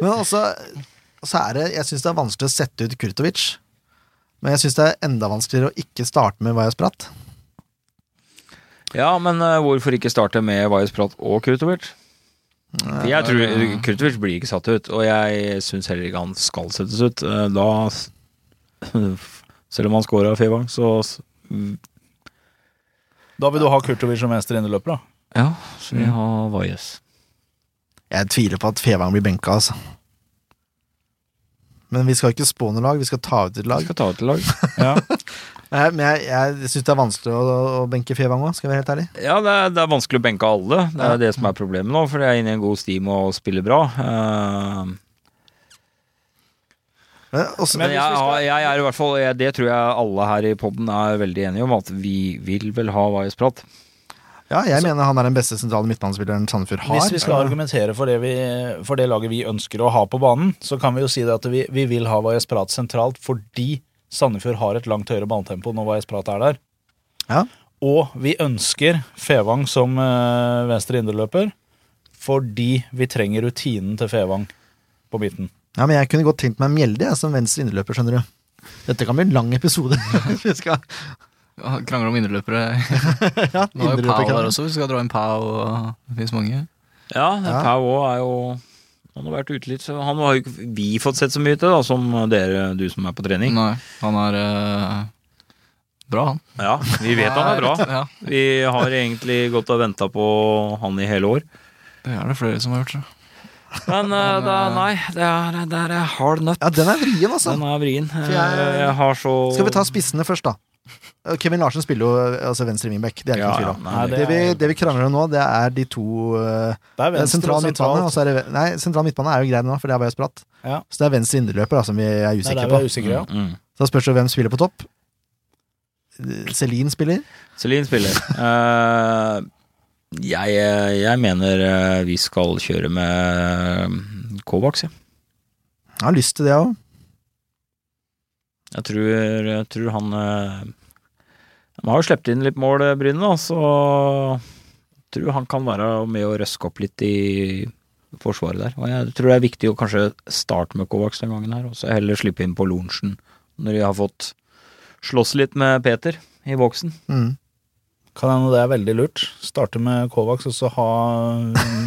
Speaker 1: Men altså, så er det Jeg syns det er vanskelig å sette ut Kurtovic. Men jeg syns det er enda vanskeligere å ikke starte med Vajas Pratt.
Speaker 3: Ja, men eh, hvorfor ikke starte med Vajez Prat og Kurtovic? For Jeg tror Kurtovic blir ikke satt ut, og jeg syns heller ikke han skal settes ut. Eh, Da [CLEARS THROAT] Selv om han scora Fevang, så
Speaker 7: Da vil du ha Kurtovic som venstre inneløper, da.
Speaker 3: Ja, så vi har Vajez.
Speaker 1: Jeg tviler på at Fevang blir benka, altså. Men vi skal ikke spå noe lag, vi skal ta ut et lag.
Speaker 3: Vi skal ta ut et [LAUGHS] lag.
Speaker 1: Nei, Men jeg, jeg syns det er vanskelig å, å benke Fevang òg, skal jeg være helt ærlig.
Speaker 3: Ja, det er, det er vanskelig å benke alle. Det er det som er problemet nå, for de er inne i en god steam og spiller bra. Eh,
Speaker 1: Men også,
Speaker 3: Men jeg, har- jeg er i hvert fall jeg, Det tror jeg alle her i poden er veldig enige om, at vi vil vel ha Vajez Prat.
Speaker 1: ja, jeg mener han er den beste sentrale midtbanespilleren Sandefjord har.
Speaker 7: Hvis vi skal argumentere for det, vi, for det laget vi ønsker å ha på banen, så kan vi jo si det at vi, vi vil ha Vajas Prat sentralt fordi Sandefjord har et langt høyere banetempo når Vajas Prat er der.
Speaker 1: Ja.
Speaker 7: Og vi ønsker Fevang som eh, venstre indreløper fordi vi trenger rutinen til Fevang på midten.
Speaker 1: Ja, men jeg kunne godt tenkt meg Mjelde jeg, som venstre inneløper, skjønner du. Dette kan bli en lang
Speaker 7: [LAUGHS]
Speaker 1: episode. vi skal
Speaker 5: Ja, Krangler om inneløpere.
Speaker 1: ja,
Speaker 5: Nå har jo Pau der
Speaker 1: inneløperkrangel.
Speaker 5: også, vi skal dra inn Pau. og Det finnes mange.
Speaker 3: Ja,
Speaker 1: Ja.
Speaker 3: Pau òg er jo Han har vært ute litt, så han har jo ikke vi fått sett så mye til, da, som dere, du som er på trening.
Speaker 5: Nei, han er eh, bra, han.
Speaker 3: Ja, vi vet han er bra.
Speaker 5: Ja,
Speaker 3: Vi har egentlig gått og venta på han i hele år.
Speaker 5: det er det flere som har gjort. tror jeg.
Speaker 3: Men eh, det er, nei, det er, det er en hard nøtt.
Speaker 1: Ja, den er vrien, altså.
Speaker 3: Den er vrien. Eh,
Speaker 1: jeg-
Speaker 3: Jeg har så
Speaker 1: Skal vi ta spissene først, da? Kevin Larsen spiller jo altså, venstre wingback, det er det
Speaker 3: Ja,
Speaker 1: ikke noe tvil
Speaker 3: ja,
Speaker 1: om.
Speaker 3: nei,
Speaker 1: Det vi, det vi krangler om nå, det er de to eh,
Speaker 7: Det er
Speaker 1: det er
Speaker 7: venstre
Speaker 1: Sentral
Speaker 7: og
Speaker 1: midtbane altså. og
Speaker 7: sentralt.
Speaker 1: så er det ve- Nei, sentral midtbane er jo grei nå, for det er bare spratt.
Speaker 7: Ja.
Speaker 1: Så det er venstre indreløper da, som vi er
Speaker 7: Det er
Speaker 1: usikre
Speaker 7: der vi
Speaker 1: på.
Speaker 7: er usikre, ja.
Speaker 3: Mm.
Speaker 1: Så da spørs det hvem spiller på topp. Celine spiller.
Speaker 3: Celine spiller. Eh, jeg, jeg mener eh, vi skal kjøre med Kovacs, jeg.
Speaker 1: Jeg har lyst til det òg.
Speaker 3: Jeg tror, jeg tror han eh, De har jo sluppet inn litt mål, eh, Bryne, da, så jeg tror han kan være med å røske opp litt i forsvaret der. Og jeg tror det er viktig å kanskje starte med Kovacs den gangen her, og så heller slippe inn på Lorentzen når de har fått slåss litt med Peter i boksen.
Speaker 1: Mm.
Speaker 7: Kan hende det er veldig lurt. Starte med Kovacs og så ha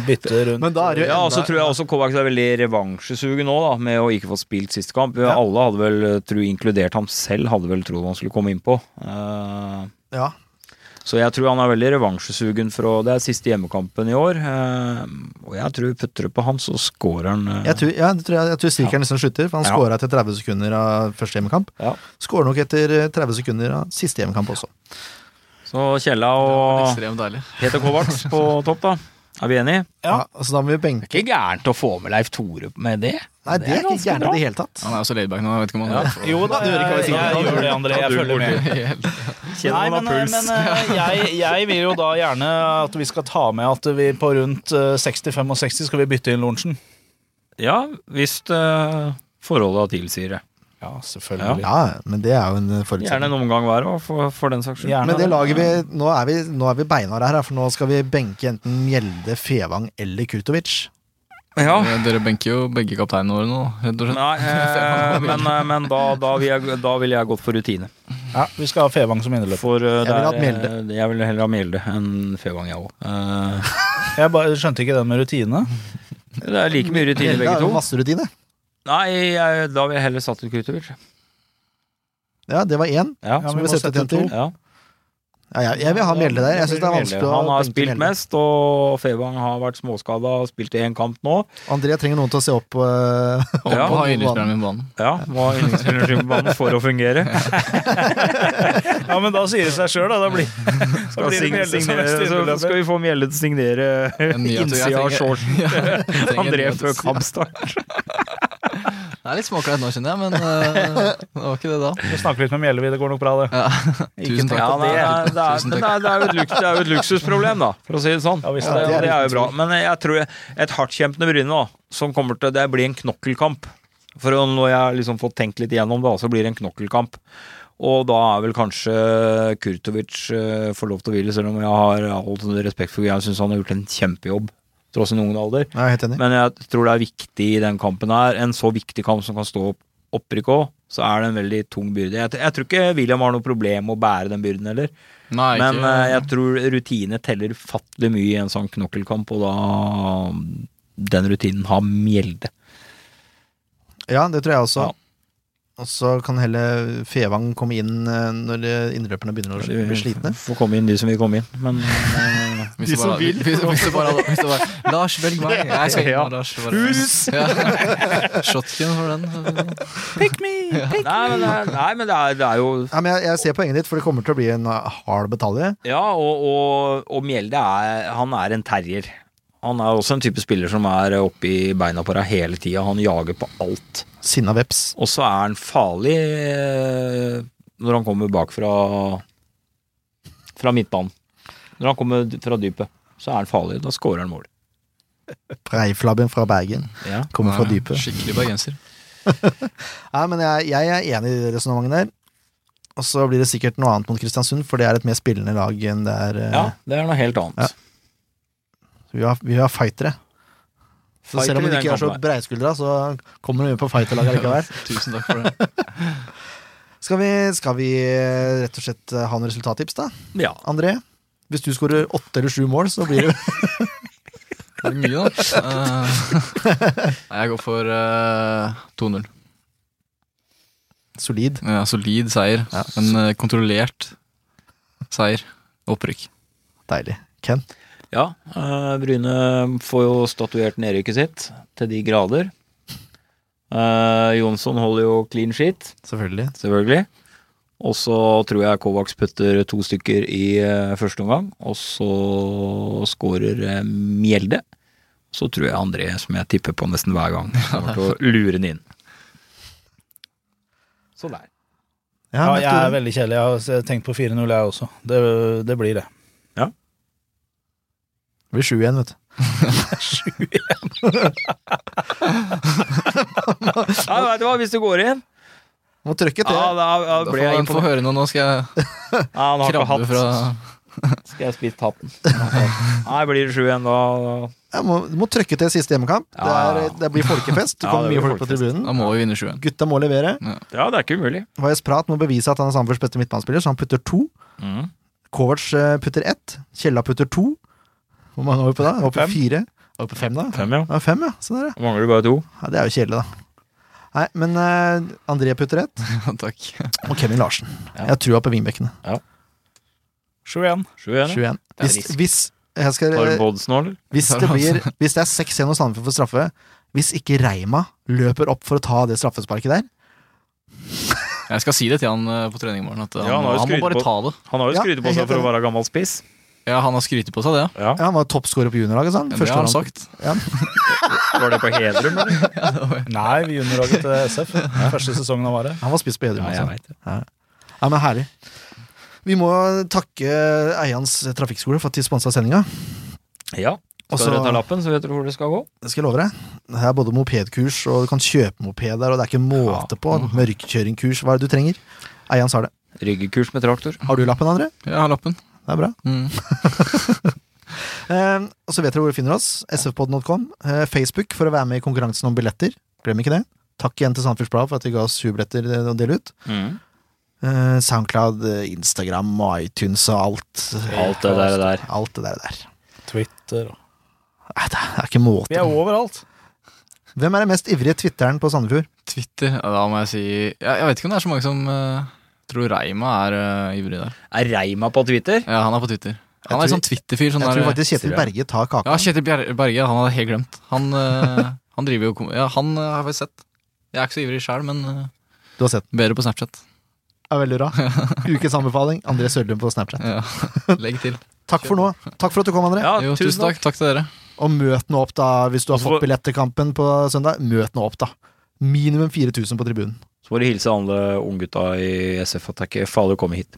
Speaker 7: bytte rundt.
Speaker 1: Men da er det jo
Speaker 3: Ja, og så
Speaker 1: enda-
Speaker 3: tror jeg også Kovacs er veldig revansjesugen nå, da, med å ikke få spilt siste kamp. Alle hadde vel, eh, tror, inkludert ham selv, hadde vel trodd han skulle komme innpå. Eh,
Speaker 1: Ja.
Speaker 3: Så jeg tror han er veldig revansjesugen fra Det er siste hjemmekampen i år. eh, Og jeg tror putter du på han, så scorer han. eh.
Speaker 1: Jeg tror, ja, det tror jeg, jeg tror Sirkeren nesten slutter, for han
Speaker 3: Ja.
Speaker 1: skåra etter 30 sekunder av første hjemmekamp.
Speaker 3: Ja.
Speaker 1: Skårer nok etter 30 sekunder av siste hjemmekamp også.
Speaker 3: Så Kjella
Speaker 5: Det er
Speaker 3: og
Speaker 5: Ekstremt deilig.
Speaker 3: Peter Kovacs på topp, da. Er vi enige?
Speaker 1: Ja. så da må vi benke
Speaker 3: Det er ikke gærent å få med Leif Tore med det.
Speaker 1: Nei, det, er ikke
Speaker 3: ganske
Speaker 1: gærent i
Speaker 3: bra.
Speaker 1: det hele tatt.
Speaker 5: Han er jo så laidback nå, jeg vet ikke om han
Speaker 7: [LAUGHS]
Speaker 5: er
Speaker 7: Jo da, jeg,
Speaker 1: hva
Speaker 7: jeg,
Speaker 1: jeg sier.
Speaker 7: gjør det, André. Jeg følger med.
Speaker 5: Helt-
Speaker 3: Kjenner
Speaker 7: Nei,
Speaker 3: man
Speaker 7: men,
Speaker 3: har puls.
Speaker 7: men [LAUGHS] eh, jeg, jeg vil jo da gjerne at vi skal ta med at vi på rundt eh, 60-65 skal vi bytte inn Lorentzen.
Speaker 3: Ja, hvis eh, forholda tilsier det.
Speaker 7: Ja,
Speaker 3: Ja.
Speaker 7: selvfølgelig.
Speaker 1: Ja, men det er jo en
Speaker 3: Gjerne
Speaker 1: forutsetning.
Speaker 3: en omgang hver òg, for, for den saks skyld.
Speaker 7: Gjerne.
Speaker 1: Men det laget vi Nå er vi, nå er vi beinharde her, for nå skal vi benke enten Mjelde, Fevang eller Kurtovic.
Speaker 3: [LAUGHS] Ja.
Speaker 5: Dere- Dere benker jo begge kapteinene våre nå, rett og slett.
Speaker 3: Nei, eh, men, eh, men da, da, vil jeg, da vil jeg gått for rutine.
Speaker 7: Ja, vi skal ha Fevang som innløper.
Speaker 3: For eh, det
Speaker 1: Jeg vil ha
Speaker 3: er, eh, jeg vil heller ha Mjelde enn Fevang, jeg òg.
Speaker 7: Jeg bare skjønte ikke den med rutinene.
Speaker 3: det er like mye rutine
Speaker 1: Mjelde
Speaker 3: begge
Speaker 1: har jo
Speaker 3: to.
Speaker 1: masse rutine.
Speaker 3: Nei, jeg, da vil jeg heller satt ut Krutovic.
Speaker 1: Ja, det var én.
Speaker 3: Ja.
Speaker 1: Så må vi sette til en til.
Speaker 3: Ja.
Speaker 1: Ja, jeg, jeg vil ha Mjelde der. Jeg syns det er vanskelig å
Speaker 3: Han har
Speaker 1: benke
Speaker 3: spilt
Speaker 1: Mjelde.
Speaker 3: mest, og Fevang har vært småskada og spilt i én kamp nå.
Speaker 1: André trenger noen til å se opp. eh, [LAUGHS]
Speaker 5: Og
Speaker 3: Ja.
Speaker 5: ha yndlingsspilleren min på banen.
Speaker 3: Ja, må ha yndlingsspilleren sin på banen for å fungere.
Speaker 7: Ja, men da sier det seg sjøl, da. Da blir, da
Speaker 3: Skal,
Speaker 7: blir det
Speaker 3: sign-
Speaker 7: Mjelde som
Speaker 3: signere,
Speaker 7: mest
Speaker 3: så
Speaker 7: innløper.
Speaker 3: skal vi få Mjelde til å signere
Speaker 5: En ny- jeg
Speaker 3: innsida av
Speaker 5: trenger-
Speaker 3: shortsen
Speaker 5: Ja, jeg
Speaker 3: til
Speaker 5: trenger en
Speaker 3: [LAUGHS] André
Speaker 5: ny-
Speaker 3: før kampstart.
Speaker 5: Det er litt småkleint nå, kjenner jeg, men eh, det var ikke det da.
Speaker 7: Vi snakker litt med Mjelde, vi. Det går nok bra, det.
Speaker 5: Ja.
Speaker 7: Ikke
Speaker 5: Tusen
Speaker 7: tenk
Speaker 5: takk.
Speaker 3: Ja,
Speaker 7: på
Speaker 3: nei,
Speaker 7: det.
Speaker 3: nei, det, er,
Speaker 5: Tusen
Speaker 3: men
Speaker 5: takk.
Speaker 3: det, er, det, er jo et luk, det er jo et luksusproblem, da, for å si det sånn.
Speaker 7: Ja, visst
Speaker 3: Og det,
Speaker 1: det er
Speaker 3: og det er jo bra. Men jeg tror jeg, et hardtkjempende Bryne da, som kommer til Det blir en knokkelkamp. For når jeg har liksom fått tenkt litt igjennom det, så blir det en knokkelkamp. Og da er vel kanskje Kurtovic eh, får lov til å hvile, selv om jeg har all respekt for Jeg syns han har gjort en kjempejobb, tross sin unge alder.
Speaker 1: Jeg er helt enig.
Speaker 3: Men jeg tror det er viktig i den kampen her, en så viktig kamp som kan stå opp- opprykk òg, så er det en veldig tung byrde. Jeg, jeg tror ikke William har noe problem med å bære den byrden heller,
Speaker 5: Nei,
Speaker 3: men
Speaker 5: ikke,
Speaker 3: eh, jeg tror rutine teller ufattelig mye i en sånn knokkelkamp, og da den rutinen har mjelde.
Speaker 1: Ja, det tror jeg også.
Speaker 3: Ja.
Speaker 1: Og så kan heller Fevang komme inn eh, når eh, innløperne begynner å sli- bli slitne.
Speaker 3: Får komme inn de som vil komme inn, men eh,
Speaker 5: hvis du bare, Hvis, hvis du bare, hvis du bare Lars, velg meg! Jeg skal
Speaker 3: [LAUGHS] Ja.
Speaker 5: ja. Lars. Bare, [LAUGHS] ja. Shotgun for den. [LAUGHS]
Speaker 3: nei, men, det er- nei, men det er, det er jo
Speaker 1: Ja, men jeg, jeg ser poenget ditt, for det kommer til å bli en eh, hard batalje.
Speaker 3: Ja, og, og, og Mjelde er, han er en terrier. Han er også en type spiller som er oppe i beina på deg hele tida. Han jager på alt.
Speaker 1: Sinna veps.
Speaker 3: Og så er han farlig eh, når han kommer bak fra, fra midtbanen. Når han kommer d- fra dypet, så er han farlig. Da scorer han mål.
Speaker 1: Breiflabben fra Bergen.
Speaker 3: Ja.
Speaker 1: Kommer fra dypet.
Speaker 5: Skikkelig bergenser.
Speaker 1: Nei, men jeg, jeg er enig i det resonnementet der. Og så blir det sikkert noe annet mot Kristiansund, for det er et mer spillende lag enn det er eh,
Speaker 3: ja, det er noe helt annet.
Speaker 1: Vi har, vi har fightere. Så
Speaker 3: Fighter
Speaker 1: selv om
Speaker 3: i
Speaker 1: de
Speaker 3: den
Speaker 1: ikke er så
Speaker 3: kampen her.
Speaker 1: breiskuldra, så kommer de med på fighterlaget
Speaker 3: [LAUGHS]
Speaker 1: likevel.
Speaker 5: Tusen takk for det.
Speaker 1: Skal vi, skal vi eh, rett og slett eh, ha noen resultattips, da?
Speaker 3: Ja.
Speaker 1: André? Hvis du skårer åtte eller sju mål, så
Speaker 3: [LAUGHS]
Speaker 1: blir det
Speaker 5: Det blir mye, da. Eh, [LAUGHS] Nei, jeg går for eh, 2-0.
Speaker 1: solid.
Speaker 5: Ja, solid seier.
Speaker 1: Ja.
Speaker 5: En eh, kontrollert seier. Opprykk.
Speaker 1: Deilig. Ken?
Speaker 3: ja eh, Bryne får jo statuert nedrykket sitt til de grader. Eh, Jonsson holder jo clean sheet.
Speaker 1: Selvfølgelig.
Speaker 3: selvfølgelig. Og så tror jeg Kovacs putter to stykker i eh, første omgang, og så skårer eh, Mjelde. Så tror jeg André, som jeg tipper på nesten hver gang, kommer til å [LAUGHS] lure den inn. Så Sånn der.
Speaker 1: Ja,
Speaker 7: Ja,
Speaker 1: men
Speaker 7: jeg er
Speaker 1: Tore,
Speaker 7: veldig kjedelig. Jeg har tenkt på 4-0, jeg også. Det, det blir det.
Speaker 1: Det blir sju igjen, vet du.
Speaker 3: Ja, vet du hva, hvis du går inn
Speaker 1: Må trykke
Speaker 3: ja,
Speaker 1: til.
Speaker 3: da, da
Speaker 5: Da
Speaker 3: ble
Speaker 5: får
Speaker 3: jeg
Speaker 5: han få
Speaker 3: imponert.
Speaker 5: høre noe. Nå skal jeg
Speaker 3: Ja, han har ikke
Speaker 5: krabbe
Speaker 3: hatt.
Speaker 5: fra
Speaker 3: Skal jeg spise hatten? Nei, blir det sju igjen da?
Speaker 1: Jeg må, du må trykke til siste hjemmekamp. Det,
Speaker 3: Ja, ja, ja.
Speaker 1: er, det blir
Speaker 3: [LAUGHS]
Speaker 1: folkefest. Det
Speaker 3: Ja,
Speaker 1: kommer
Speaker 3: det
Speaker 1: mye
Speaker 3: blir
Speaker 1: folk på tribunen.
Speaker 5: Da må vi vinne 7-1.
Speaker 1: Gutta må levere.
Speaker 3: Ja, det er ikke umulig.
Speaker 1: Vajez Prat må bevise at han er Sandefjords beste midtbanespiller, så han putter to.
Speaker 3: Mm.
Speaker 1: Kovac eh, putter ett. Kjella putter to. Hvor mange er vi på da? Oppe
Speaker 3: Fem.
Speaker 1: på fire? Oppe på fem, da?
Speaker 3: Fem, ja.
Speaker 1: Ja, fem, ja. Sånn er det.
Speaker 3: Mangler bare to.
Speaker 1: Ja, det er jo kjedelig, da. Nei, men eh, André putter ett,
Speaker 5: Ja, [LAUGHS] takk.
Speaker 1: og Kevin Larsen.
Speaker 3: Ja.
Speaker 1: Jeg har trua på vingbekkene.
Speaker 7: 7-1.
Speaker 3: Sju igjen.
Speaker 1: 21.
Speaker 3: er
Speaker 1: Hvis,
Speaker 3: risk.
Speaker 1: hvis jeg skal
Speaker 3: Har du bodsen nå, eller?
Speaker 1: Hvis det, blir, hvis det er seks igjen og Sandefjord får straffe Hvis ikke Reima løper opp for å ta det straffesparket der
Speaker 5: Jeg skal si det til han eh, på trening i morgen. At eh,
Speaker 3: Ja,
Speaker 5: han,
Speaker 3: han har jo
Speaker 5: han, må
Speaker 3: skrytt
Speaker 5: bare
Speaker 3: på-
Speaker 5: ta det.
Speaker 3: Han har jo
Speaker 1: Ja,
Speaker 3: skrytt på
Speaker 1: jeg er
Speaker 3: seg
Speaker 1: helt
Speaker 3: for å
Speaker 1: enig.
Speaker 3: være gammel spiss.
Speaker 5: Ja, Han har skrytet på seg det.
Speaker 3: Ja.
Speaker 1: ja, Han var toppskårer på juniorlaget, sa han.
Speaker 5: Ja. Det
Speaker 1: Første
Speaker 5: har han
Speaker 1: gang.
Speaker 5: sagt.
Speaker 3: Var det på Hedrum, eller?
Speaker 7: Nei, vi juniorlaget til SF. Første sesongen av Vare.
Speaker 1: Han var spiss på Hedrum.
Speaker 3: Ja,
Speaker 1: Ja,
Speaker 3: jeg vet det.
Speaker 1: ja, men herlig. Vi må takke Eians trafikkskole for at de sponsa sendinga.
Speaker 3: Ja. Skal
Speaker 1: Også-
Speaker 3: dere ta lappen, så vet dere hvor det skal gå?
Speaker 1: Det skal jeg love deg. Det er både mopedkurs, og du kan kjøpe moped der, og det er ikke måte på. Mørkkjøringkurs, hva er det du trenger? Eians har det.
Speaker 3: Ryggekurs med traktor.
Speaker 1: Har du lappen, André?
Speaker 5: Jeg har lappen.
Speaker 1: Det er bra.
Speaker 5: Mm.
Speaker 1: [LAUGHS] Eh, og så vet dere hvor dere finner oss. sfpodden.com. Eh, Facebook for å være med i konkurransen
Speaker 3: Mm.
Speaker 1: om billetter. Glem ikke det. Takk igjen til Sandefjords Blad for at de ga oss 20 billetter eh, å dele ut. eh, SoundCloud, eh, Instagram og iTunes og alt.
Speaker 3: Alt det der. der.
Speaker 1: Alt det der. der.
Speaker 7: Twitter og
Speaker 1: Nei, det er ikke
Speaker 7: Vi
Speaker 1: måte
Speaker 7: er overalt.
Speaker 1: Hvem er den mest ivrige twitteren på Sandefjord?
Speaker 5: Twitter, ja, da må jeg si ja, Jeg vet ikke om det er så mange som eh, tror Reima er eh, ivrig der.
Speaker 3: Er Reima på Twitter?
Speaker 5: Ja, han er på Twitter. Han er en
Speaker 1: tror-
Speaker 5: sånn Twitter-fyr. Sånn
Speaker 1: Jeg
Speaker 5: der-
Speaker 1: tror faktisk Kjetil Berge tar kaka.
Speaker 5: Ja, Kjetil Bjer- Berge, han hadde jeg helt glemt. Han, eh, [LAUGHS] han driver jo kom- Ja, han eh, har vi sett. Jeg er ikke så ivrig sjøl, men eh,
Speaker 1: Du har sett den.
Speaker 5: bedre på Snapchat.
Speaker 1: Ja, veldig
Speaker 5: [LAUGHS]
Speaker 1: bra. Ukens anbefaling. André Sørlund på Snapchat.
Speaker 5: Ja, [LAUGHS] Legg
Speaker 1: [LAUGHS]
Speaker 5: til.
Speaker 1: Takk for nå. Takk for at du kom, André.
Speaker 3: Ja,
Speaker 5: Jo, tusen takk. Takk til dere.
Speaker 1: Og møt nå opp, da, hvis du har
Speaker 3: Også-
Speaker 1: fått billett til kampen på søndag. Møt nå opp, da. Minimum 4000 på tribunen.
Speaker 3: Så må du hilse alle unggutta i SF at det ikke faller å komme hit.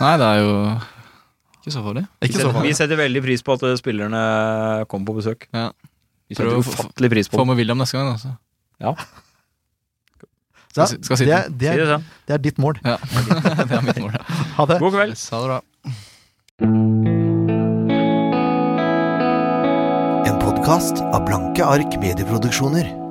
Speaker 5: Nei, det er jo ikke så farlig.
Speaker 1: Ikke så
Speaker 3: Vi
Speaker 1: farlig.
Speaker 3: setter veldig pris på at eh, spillerne kommer på besøk.
Speaker 5: Ja.
Speaker 3: Vi setter
Speaker 5: Prøv å få-
Speaker 3: ufattelig pris på
Speaker 5: Få
Speaker 3: det.
Speaker 5: med William neste gang, altså. da. så.
Speaker 1: Ja,
Speaker 5: Skal si- skal si
Speaker 1: det, er- det,
Speaker 3: Si det
Speaker 1: er,
Speaker 3: sånn.
Speaker 1: det er ditt mål.
Speaker 5: Ja. [LAUGHS] det er mitt mål. ja.
Speaker 1: Ha det.
Speaker 3: God kveld.
Speaker 5: Yes, Ha det bra.
Speaker 2: En podkast av Blanke ark medieproduksjoner.